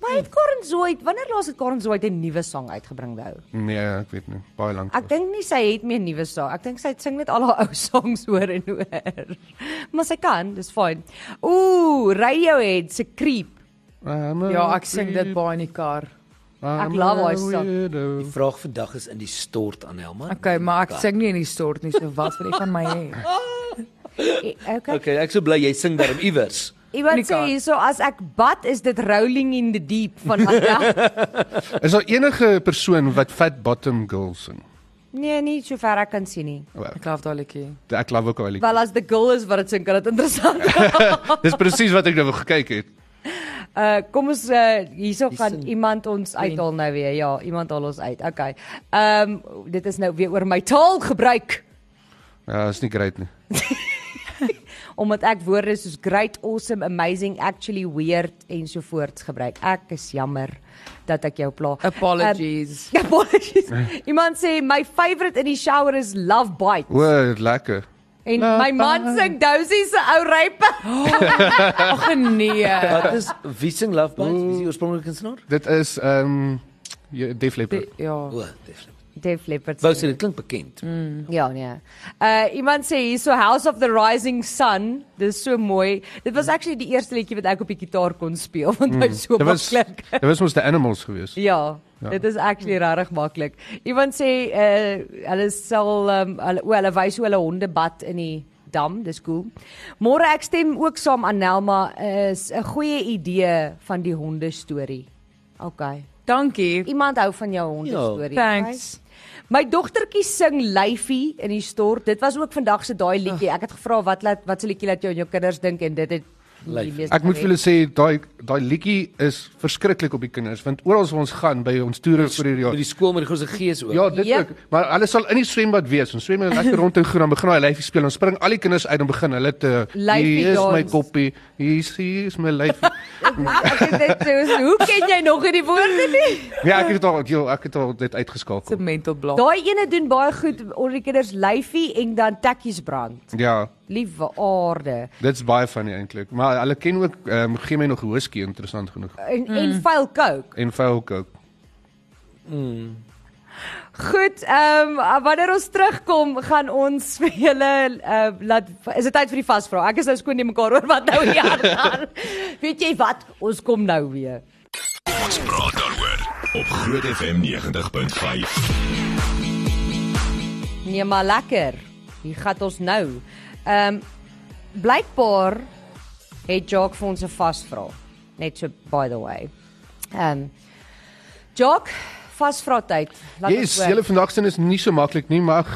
S2: maar het Karen Zoid, wanneer laas het Karen Zoid 'n nuwe sang uitgebring nou?
S5: Nee, ek weet nie, baie lank.
S2: Ek dink nie sy het meer nuwe songs. Ek dink sy sing net al haar ou songs oor en oor. Maar sy kan, dis fyn. Ooh, Radiohead se Creep.
S3: Ja, ek sing dit baie in die kar.
S2: ek love haar song.
S4: Die vraag vandag is in die stort aan Helma.
S3: Okay, maar ek sing nie in die stort nie, so wat wil jy van my hê?
S2: E- Okay.
S4: Okay, ek sou bly jy sing daarom iewers.
S2: Iemand sê
S3: Monica.
S2: hierso as ek bad is dit Rolling in the Deep van Adele.
S5: Is daar enige persoon wat Fat Bottom Girl sing?
S2: nee, nie so ver ek kan sien nie.
S3: Ek love daai liedjie.
S5: Ek love ook haar liedjie.
S2: Wel as the girl is wat dit sing kan dit interessant. raak.
S5: Dis presies wat ek nou gekyk het.
S2: Uh kom ons uh, hierso
S4: Die
S2: gaan
S4: sing.
S2: iemand ons uithaal nou weer. Ja, iemand haal ons uit. Okay. Ehm um, dit is nou weer oor my taal gebruik.
S5: Ja, is nie great nie.
S2: omdat ek woorde soos great, awesome, amazing, actually weird ensovoorts gebruik. Ek is jammer dat ek jou pla.
S3: Apologies.
S2: Um, apologies. Iemand sê my favourite in die shower is love bites.
S5: O, lekker.
S2: En my man sing Dozy se ou rype.
S3: Ag nee.
S4: Wat is Wiesing Love Bites? Wie is die oorspronklike kunstenaar?
S5: Dit is ehm um, Def Leppard.
S3: Ja.
S4: O, definitief.
S2: Def Leppard.
S4: Wou sê dit klink bekend. Mm.
S2: Ja nee. Uh iemand sê hierso House of the Rising Sun. Dis so mooi. Dit was actually die eerste liedjie wat ek op die gitaar kon speel want hy so
S5: Hmm. Dit was
S2: maklik.
S5: dit was mos the animals gewees.
S2: Ja, ja, dit is actually regtig maklik. Iemand sê uh hulle sal um, hulle o, hulle wys hoe hulle honde bad in die dam, dis cool. Môre ek stem ook saam aan Nelma is 'n goeie idee van die honde storie. OK.
S3: Dankie.
S2: Iemand hou van jou honde
S4: Ja,
S2: storie.
S3: Thanks.
S2: My dogtertjie sing Lyfie in die stort. Dit was ook vandag se daai liedjie. Ek het gevra wat laat wat se liedjie laat jou aan jou kinders dink en dit het
S4: Lyfie.
S5: Ek moet vir
S2: julle
S5: julle sê daai daai liedjie is verskriklik op die kinders want oral waar ons gaan by ons toere vir hierdie
S4: Met
S5: jaar.
S4: die skool met die groot gees ook.
S5: Ja, dit
S2: Ja.
S5: ook. Maar hulle sal in die swembad wees. Ons swem en lekker rond en groen dan begin daai lyfie speel. Ons spring al die kinders uit en begin hulle te
S2: Lyfie
S5: hier is my
S2: dans.
S5: koppie. Hier is hier is my lyfie.
S2: ek het dit so hoe ken jy nog hierdie woorde nie?
S5: ja, ek het al joh, ek het al dit
S3: Dis 'n
S5: uitgeskakel.
S3: mental block.
S2: Daai ene doen baie goed onder die kinders lyfie en dan tekkies brand.
S5: Ja,
S2: Liewe aarde.
S5: dit's baie funny eintlik. Maar hulle ken ook ehm um, gee my nog whisky interessant genoeg.
S2: En mm. en vuil coke.
S5: En vuil ook.
S2: Goed, ehm um, wanneer ons terugkom gaan ons vir julle uh, laat is dit tyd vir die vasvra. Ek is nou skoon nie mekaar oor wat nou hier aan. Weet jy wat? Ons kom nou weer.
S1: Ons praat daaroor op Groot FM 90.5.
S2: Nee, maar lekker. Hier gaan ons nou. Ehm um, blykbaar het Jock vir ons 'n vasvra. Net so by the way. Ehm um, Jock, vasvra tyd. Laat
S5: Yes,
S2: ons hoor.
S5: julle vandag sin is nie so maklik nie, maar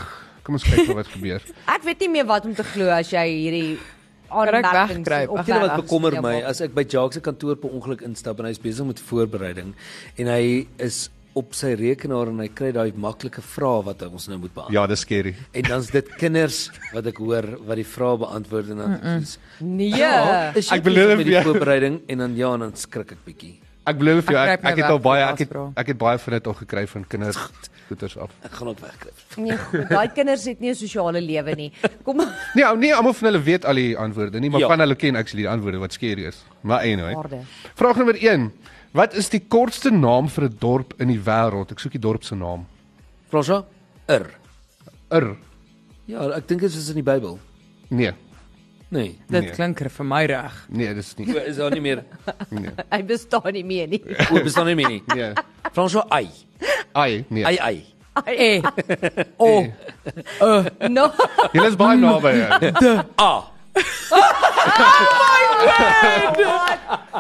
S5: kom ons kyk wat gebeur.
S2: Ek weet nie meer wat om te glo as jy hierdie
S3: ek
S2: aanmerkings
S3: wegkruip?
S2: op
S3: Ag,
S4: Ek weet wat
S2: verf-
S4: bekommer
S2: ja,
S4: my
S2: maak.
S4: as ek by Jacques se kantoor per ongeluk instap en hy is besig met voorbereiding en hy is op sy rekenaar en hy kry daai maklike vrae wat hy ons nou moet beantwoord.
S5: ja, dis skerry.
S4: En dan's dit kinders wat ek hoor wat die vrae beantwoord en dan soos Ja.
S2: Nee.
S4: is jy
S5: Ja. Ek beloof
S4: besig met die
S5: jou.
S4: voorbereiding en dan ja, en dan skrik ek bietjie.
S5: Ek belowe vir jou,
S3: Ek
S5: ek,
S3: gryp my
S5: ek het
S3: weg
S5: al baie
S3: met
S5: ek het
S3: vasvra.
S5: ek het baie van dit al gekry van kinders goeters af.
S4: Ek gaan ook wegkruip.
S2: Nee, goed, daai kinders het nie 'n sosiale lewe nie. Kom
S5: Nee, ou- nee, almal van hulle weet al die antwoorde nie, maar
S4: Ja.
S5: ja. van hulle ken actually die antwoorde wat skerry is. Maar anyway.
S2: Aarde.
S5: Vraag nommer 1. Wat is die kortste naam vir 'n dorp in die wêreld? Ek soek die dorp se naam.
S4: Fransa? Ir.
S5: Ir.
S4: Ja, ek dink dit is in die Bybel.
S5: Nee.
S4: Nee.
S3: Dit
S5: Nee.
S3: klink er vir my reg.
S5: Nee, dis nie.
S4: O, Is daar nie meer
S2: hy bestaan nie meer nie.
S4: o, bestaan nie meer nie.
S5: Nee.
S4: Fransa ai.
S5: Ai, nee.
S4: Ai ai.
S3: Eh. O.
S2: No.
S5: Julle is baie naby. ja.
S4: A.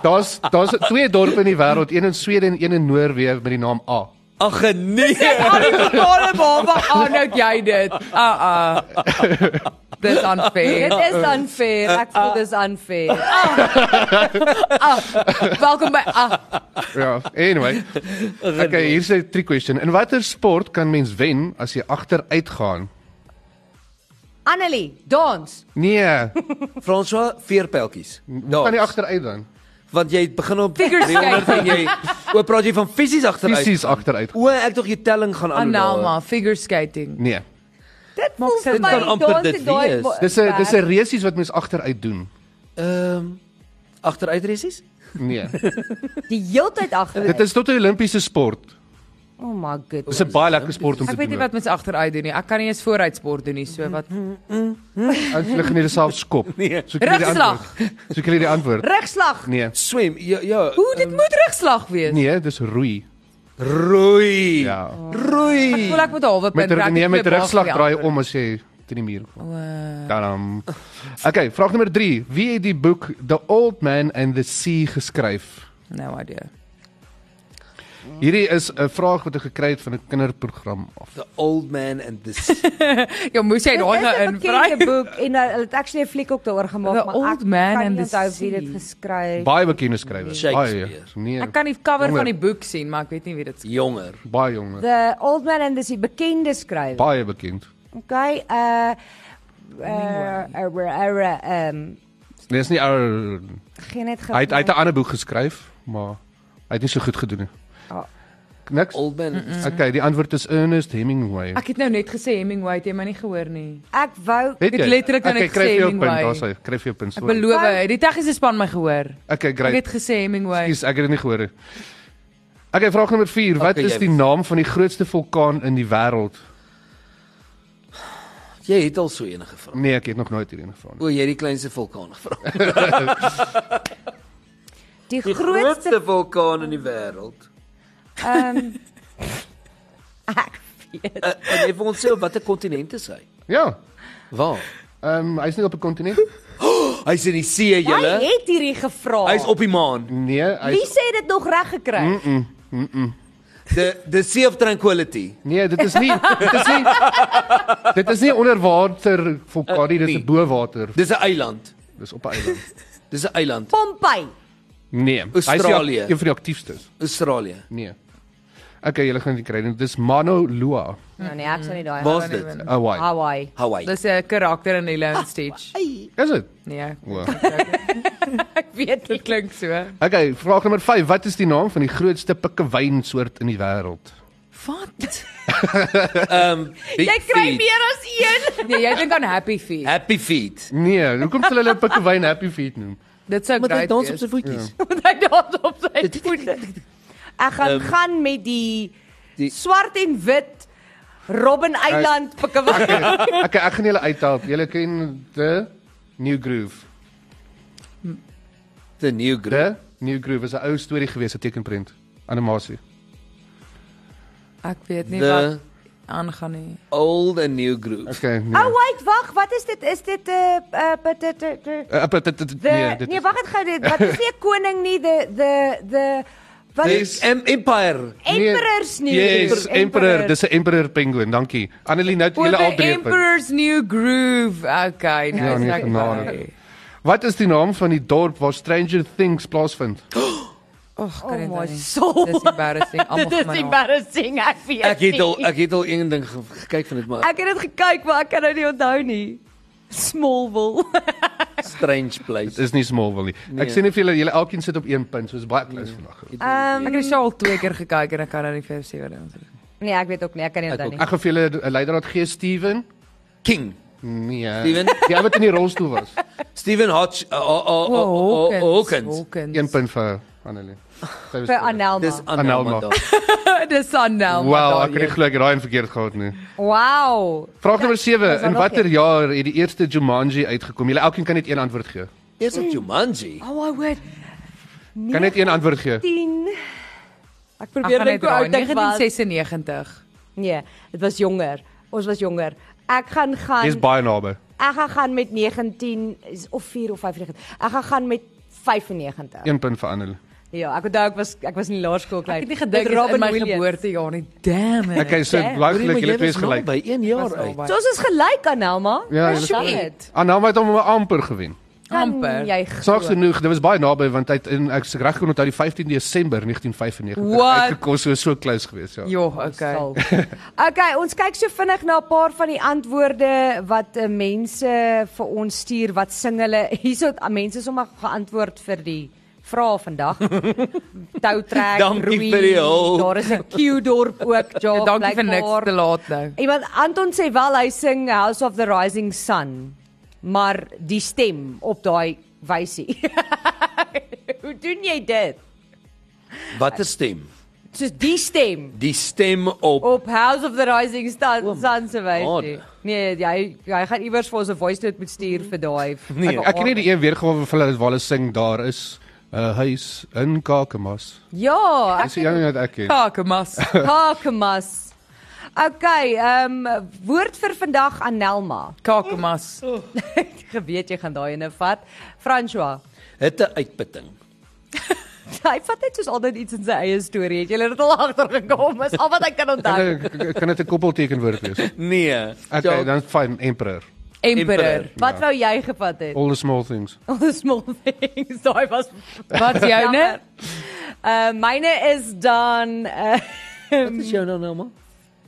S5: Daar's daar's twee dorpe in die wêreld, een in Swede en een in Noorwe met die naam A.
S4: Ag nee.
S3: Al die totale baba aan nou jy dit. Ah ah. Dis
S2: Dit
S3: unfair.
S2: is unfair.
S3: eh,
S2: Ek
S3: ah.
S2: voel dis unfair. Ah.
S3: Welkom by ah.
S5: Ja, anyway. Okay, hier's 'n trick question. In watter sport kan mens wen as jy agteruit gaan?
S2: Annelie, dans.
S5: Nee,
S4: Fransa veerpeltjies.
S5: kan nie
S4: Daar.
S5: agteruit dan.
S4: Want jy begin op
S3: Figure
S4: 300 en jy oop praat jy van fisies agteruit.
S5: Fisies agteruit.
S4: O, ek dog jy telling gaan aan.
S3: Analma figure skating.
S5: Nee.
S2: Dit maak
S4: sin. Dit kan amper dit wees.
S5: Dis 'n dis 'n resies wat mens agteruit doen.
S4: Ehm agteruitresies?
S5: Nee.
S2: die heeltyd
S5: Dit
S2: agter.
S5: is tot 'n Olimpiese sport.
S2: Oh my
S5: Dis
S2: goodness.
S5: 'n baie lekker sport om te
S3: Ek weet nie
S5: doen.
S3: wat mens agteruit doen nie. Ek kan nie eens vooruit sport doen nie. So wat
S5: Ek lig nie self skop.
S4: Nee.
S5: So kry jy die
S3: Rugslag.
S5: antwoord. So kry jy die antwoord.
S2: Rugslag.
S5: Nee.
S4: Swem. Ja, ja.
S3: Hoe dit moet rugslag wees.
S5: Nee, dis roei.
S4: Roei.
S5: Ja.
S4: Roei.
S3: Voel ek moet halwe
S5: Met
S3: rugby
S5: rug- nee, met
S3: klip
S5: rugslag
S3: af,
S5: draai
S3: ja.
S5: jy om as jy teen die muur kom. Daarom. Okay, vraag nommer 3. Wie het die boek The Old Man and the Sea geskryf?
S3: No idea.
S5: Hierdie is 'n vraag wat ek gekry het van 'n kinderprogram af.
S4: The old man and this.
S3: Ja, moes jy
S2: Dit
S3: daai
S2: is 'n
S3: in vry.
S2: bekende boek en uh, hulle het actually 'n fliek ook daaroor gemaak,
S3: The
S2: maar
S3: Old
S2: ek
S3: Man
S2: kan
S3: and
S2: nie
S3: the
S2: onthou wie
S3: Sea.
S2: dit geskryf.
S5: Baie bekende skrywer.
S4: Shakespeare.
S5: Baie, nee.
S3: Ek kan die cover
S5: Jonger.
S3: van die boek sien, maar ek weet nie wie
S4: Ja.
S3: dit is.
S4: Jonger.
S5: baie jonger.
S2: The Old Man and the Sea, bekende skrywer.
S5: Baie bekend.
S2: Okay, uh uh, uh, um
S5: Nee, is nie ou
S2: geen net
S5: hy het hy het 'n ander boek geskryf, maar hy het nie so goed gedoen nie.
S3: Ja.
S2: Ah.
S5: Niks.
S4: Oldman. Mm
S5: Okay, die antwoord is Ernest Hemingway.
S3: Ek het nou net gesê Hemingway het jy my nie gehoor nie.
S2: Ek wou
S5: Het
S3: Ek
S5: jy?
S3: het letterlik nou net
S5: okay, kry
S3: gesê
S5: vir jou
S3: Hemingway.
S5: punt, daar's hy. Kry vir jou punt.
S3: Ek
S5: sorry.
S3: beloof, hy, die tegniese span my gehoor.
S5: Okay,
S3: Ek
S5: great.
S3: het gesê Hemingway.
S5: Ekskuus, ek het dit nie gehoor nie. Okay, vraag nommer 4. Wat
S4: Okay,
S5: is
S4: jy-
S5: die naam van die grootste vulkaan in die wêreld?
S4: Jy het al so enige gevra.
S5: Nee, ek het nog nooit hierdie een gevra nie.
S4: O, jy het die kleinste vulkaan gevra.
S2: die
S4: Die
S2: grootste
S4: grootste vulkaan in die wêreld.
S2: ehm
S4: Uh, en jy wil ons sê op watter kontinent is hy?
S5: Ja.
S4: Waar?
S5: Ehm um, hy's nie op 'n kontinent.
S4: Hy's in die see,
S2: jy
S4: julle.
S2: het hierdie gevra.
S4: Hy's op die maan.
S5: Nee,
S2: Wie
S5: hy's
S2: sê dit nog reg gekry?
S4: The the Sea of Tranquility.
S5: Nee, dit is nie dit is nie Dit is nie onderwater vulkaan, nie, dit is
S4: Nee.
S5: bo water.
S4: Dis 'n eiland.
S5: Dis op 'n eiland.
S4: Dis 'n eiland.
S2: Pompeii.
S5: Nee, hy is die-
S4: Australië.
S5: een van die aktiefstes.
S4: Australië.
S5: Nee. Okay, julle gaan dit kry. nie. Dis Mauna Loa,
S2: Nou nee, ek sou nie daai
S4: Waar's
S3: nie
S4: dit?
S3: wen.
S5: Hawaii.
S2: Hawaii.
S4: Hawaii.
S3: Dis 'n karakter in Lilo and Stitch.
S5: Is dit?
S3: Nee,
S5: Wow.
S2: Ek weet
S3: dit klink so.
S5: Okay, vraag nommer 5. Wat is die naam van die grootste pikkewynsoort in die wêreld?
S3: Wat?
S4: Big
S2: Jy kry
S4: feet.
S2: meer as een.
S3: Nee, jy dink aan Happy Feet.
S4: Happy feet.
S5: Nee, hoekom sal hulle pikkewyn Happy Feet noem?
S3: Dit sou
S4: Maar hy
S3: great
S4: dans op
S3: wees.
S4: sy voetjies.
S2: Want hy dans op sy voete. Ek gaan gaan met die,
S4: Ehm, Die-
S2: swart en wit Robben Eiland pikkewag.
S4: Ja.
S5: Okay, ek gaan julle uithelp. Julle ken the New Groove.
S4: The new group.
S5: The New Groove is 'n ou storie gewees, 'n tekenprent, animasie.
S3: Ek weet nie wat
S4: The
S3: aangaan nie.
S4: old and new group.
S5: Okay, nee.
S2: Oh wait, wag, wat is dit? Is dit 'n uh, uh, dit dit dit-
S5: Uh, but, dit- dit-
S2: the
S5: nee, dit
S2: Nee,
S5: is-
S2: wag dit gou dit. Wat is nie 'n koning nie, the the the wat
S4: The
S2: is
S4: em- empire.
S5: nee.
S2: emperors nie.
S5: Yes, emperor, dis 'n emperor penguin, dankie. Annelie, nou het
S3: Oor
S5: julle al
S3: the
S5: drie punte.
S3: Emperor's New Groove. Okay, nou
S5: Ja,
S3: is
S5: nee,
S3: ek
S5: genade.
S3: by.
S5: Wat is die naam van die dorp waar Stranger Things plaasvind?
S3: Ag,
S2: Oh
S3: kan dit
S2: my
S3: nou nie.
S2: soul.
S3: Dis embarrassing. Almal
S2: Dit is
S3: gaan maar. nou.
S2: embarrassing, ek weet.
S4: Ek het al
S2: nie.
S4: ek het al een ding ge- gekyk van dit maar
S2: Ja, nee. Ek het dit gekyk, maar ek kan nou nie onthou nie. Smallville.
S4: strange place.
S5: Dit is nie Smallville nie. Ek
S4: Nee.
S5: sê net vir julle, julle elkeen sit op een punt, soos baie close vandag.
S2: Ehm
S3: Ek het dit al twee keer gekyk en ek kan nou nie vir jou sê wat dit is.
S2: nee, ek weet ook nie, ek kan nie
S4: Ek
S2: onthou
S4: ook.
S2: nie.
S5: Ek gaan vir julle 'n leidraad gee, Steven.
S4: King.
S5: Nee.
S4: Steven?
S5: Jy wat in die rolstoel was.
S4: Stephen Hodge uh, uh, uh, uh, uh, Hawkins.
S5: Een
S3: Oh, Hawkins.
S5: punt vir Annelie. Sy was
S2: Vir
S5: correct.
S2: Anelma.
S4: Dis Anelma.
S5: Anelma.
S4: daar.
S3: Dis Sanel.
S5: Wel, ek het nie glo ek het daai een verkeerd gehad nie.
S2: Wow.
S5: Vraag nommer 7.
S2: Ja, was al
S5: In
S2: nog
S5: watter
S2: een.
S5: jaar het die eerste Jumanji uitgekom? Julle elkeen kan net een antwoord gee.
S4: Dis op Jumanji.
S2: Oh, I would.
S5: Kan net een antwoord gee.
S2: 10. Ek
S3: Ek
S2: probeer
S3: gaan
S2: dink
S3: net
S2: hoe
S3: raai
S2: oud ek was.
S3: 1996.
S2: Nee, dit was jonger. Ons was jonger. Ek gaan
S5: Dis
S2: gaan
S5: baie naby.
S2: ek gaan gaan met 19 is- of 4 of 95. Ek gaan gaan met 95.
S5: Een punt vir Annelie.
S2: Ja, ek onthou ek was ek was in die laerskool klein.
S3: Ek het nie gedink
S2: Met
S3: dit is in my
S2: Williams.
S3: geboortejaar nie. Damn it.
S5: Okay, so
S2: Damn.
S5: baie geluk, nee. julle twee is
S4: gelyk
S5: gelyk.
S4: by 1
S3: Was
S4: jaar
S3: al
S4: uit.
S3: baie-
S2: So ons is gelyk aan Elma.
S5: Ja, julle is
S2: gelyk.
S5: Annelie het hom maar amper gewen.
S3: amper.
S2: Jy
S5: Saaks
S2: glo?
S5: genoeg, dit was baie naby want hy het in ek se reg kon onthou die 15 Desember 1995
S3: What?
S5: uitgekom so so close gewees, ja.
S3: Ja, okay.
S2: Sal. Okay, ons kyk so vinnig na 'n paar van die antwoorde wat uh, mense vir ons stuur. Wat sing hulle? Hierso het, uh, mense sommer geantwoord vir die vrae vandag. Toutrek,
S4: Dankie
S2: Rui,
S4: vir die hulp.
S2: Daar is 'n Q-dorp ook, ja,
S3: Ja, dankie vir niks te
S2: blykbaar.
S3: laat nou.
S2: Iemand Anton sê wel hy sing House of the Rising Sun, maar die stem op daai wysie. Hoe doen jy dit?
S4: Watter stem?
S2: Soos die stem.
S4: Die stem op
S2: op House Oh, of the Rising Sun
S4: O,
S2: Sun se
S4: God.
S2: wysie. Nee, jy jy gaan iewers vir ons 'n voice note moet stuur vir daai.
S5: Nee, ek ken nie die een weergawe van hulle waar hulle sing daar is 'n huis in Kakamas.
S2: Ja,
S5: Dis die een wat nee, ek ken.
S3: Kakamas.
S2: Kakamas. Okay, ehm um, woord vir vandag aan Nelma.
S3: Kakamas.
S2: Geweet jy gaan daai ene vat. François.
S4: hitte uitputting.
S2: Hy vat net soos altyd iets in sy eie storie. Het julle dit al agtergekom? Is al wat ek kan onthou.
S5: Kan dit- Kan dit 'n koppelteken woord wees?
S4: Nee.
S5: Okay,
S3: Ja.
S5: dan fine emperor. ja. Oh.
S3: Emperor.
S2: Wat wou jy gevat het?
S5: All the small things.
S2: All the small things. Daai was
S3: Wat is joune?
S2: Uh myne is dan uh
S4: Wat is jou nou nou maar?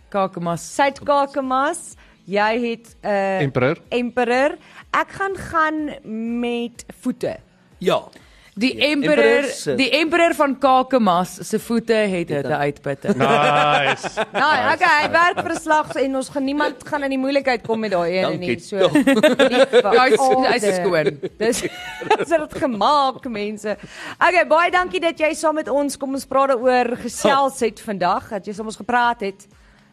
S3: Kakamas.
S2: Suid-Kakamas, Jy het 'n uh,
S5: Emperor.
S2: Emperor. Ek gaan gaan met voete.
S4: Ja.
S3: Die
S4: Ja,
S3: emperor,
S4: emperor se-
S3: die emperor van Kakamas se voete het dit uitputte.
S5: Nice.
S2: Nou, okay, hy werk verslag en ons gaan niemand gaan in die moeilikheid kom met daai ene nie.
S4: Dankie,
S2: So.
S4: tog.
S3: Hy
S2: Hy's
S3: is- hy is skoon.
S2: Dis dis het dit gemaak, mense. Okay, baie dankie dat jy saam met ons kom ons praat daaroor gesels het vandag, dat jy saam met ons gepraat het.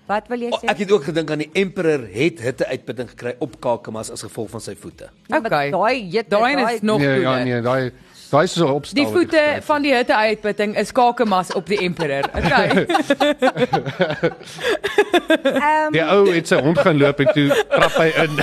S2: Wat wil jy
S4: O,
S2: sê?
S4: Ek het ook gedink aan die emperor het hitte uitputting gekry op Kakamas as gevolg van sy voete.
S2: Nee, maar
S3: Okay.
S2: Daai jette,
S3: Daai een is nog
S5: nee, ja,
S3: cooler.
S5: nee, daai daai is so 'n opstel.
S3: Die voete van die hitte uitputting is Kakamas op die emperor. Okay.
S2: Ehm
S5: Die ou het sy hond gaan loop en toe trap hy in.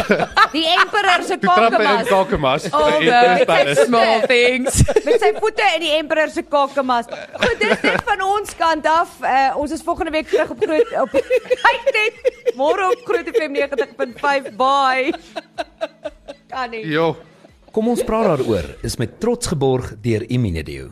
S2: die emperor se
S5: Toe trap hy in
S2: kakkemas.
S5: Kakamas.
S3: All
S5: Hy het
S3: the
S5: Palace.
S3: small things.
S2: Met sy voete in die emperor se kakkemas. Goed, dis dit van ons kant af. Uh, ons is volgende week terug op groot op kyk net môre op Groot FM 90.5. Bye. Kan nie.
S5: Jo.
S4: Kom ons praat daaroor. Is met trots geborg deur Imunedio.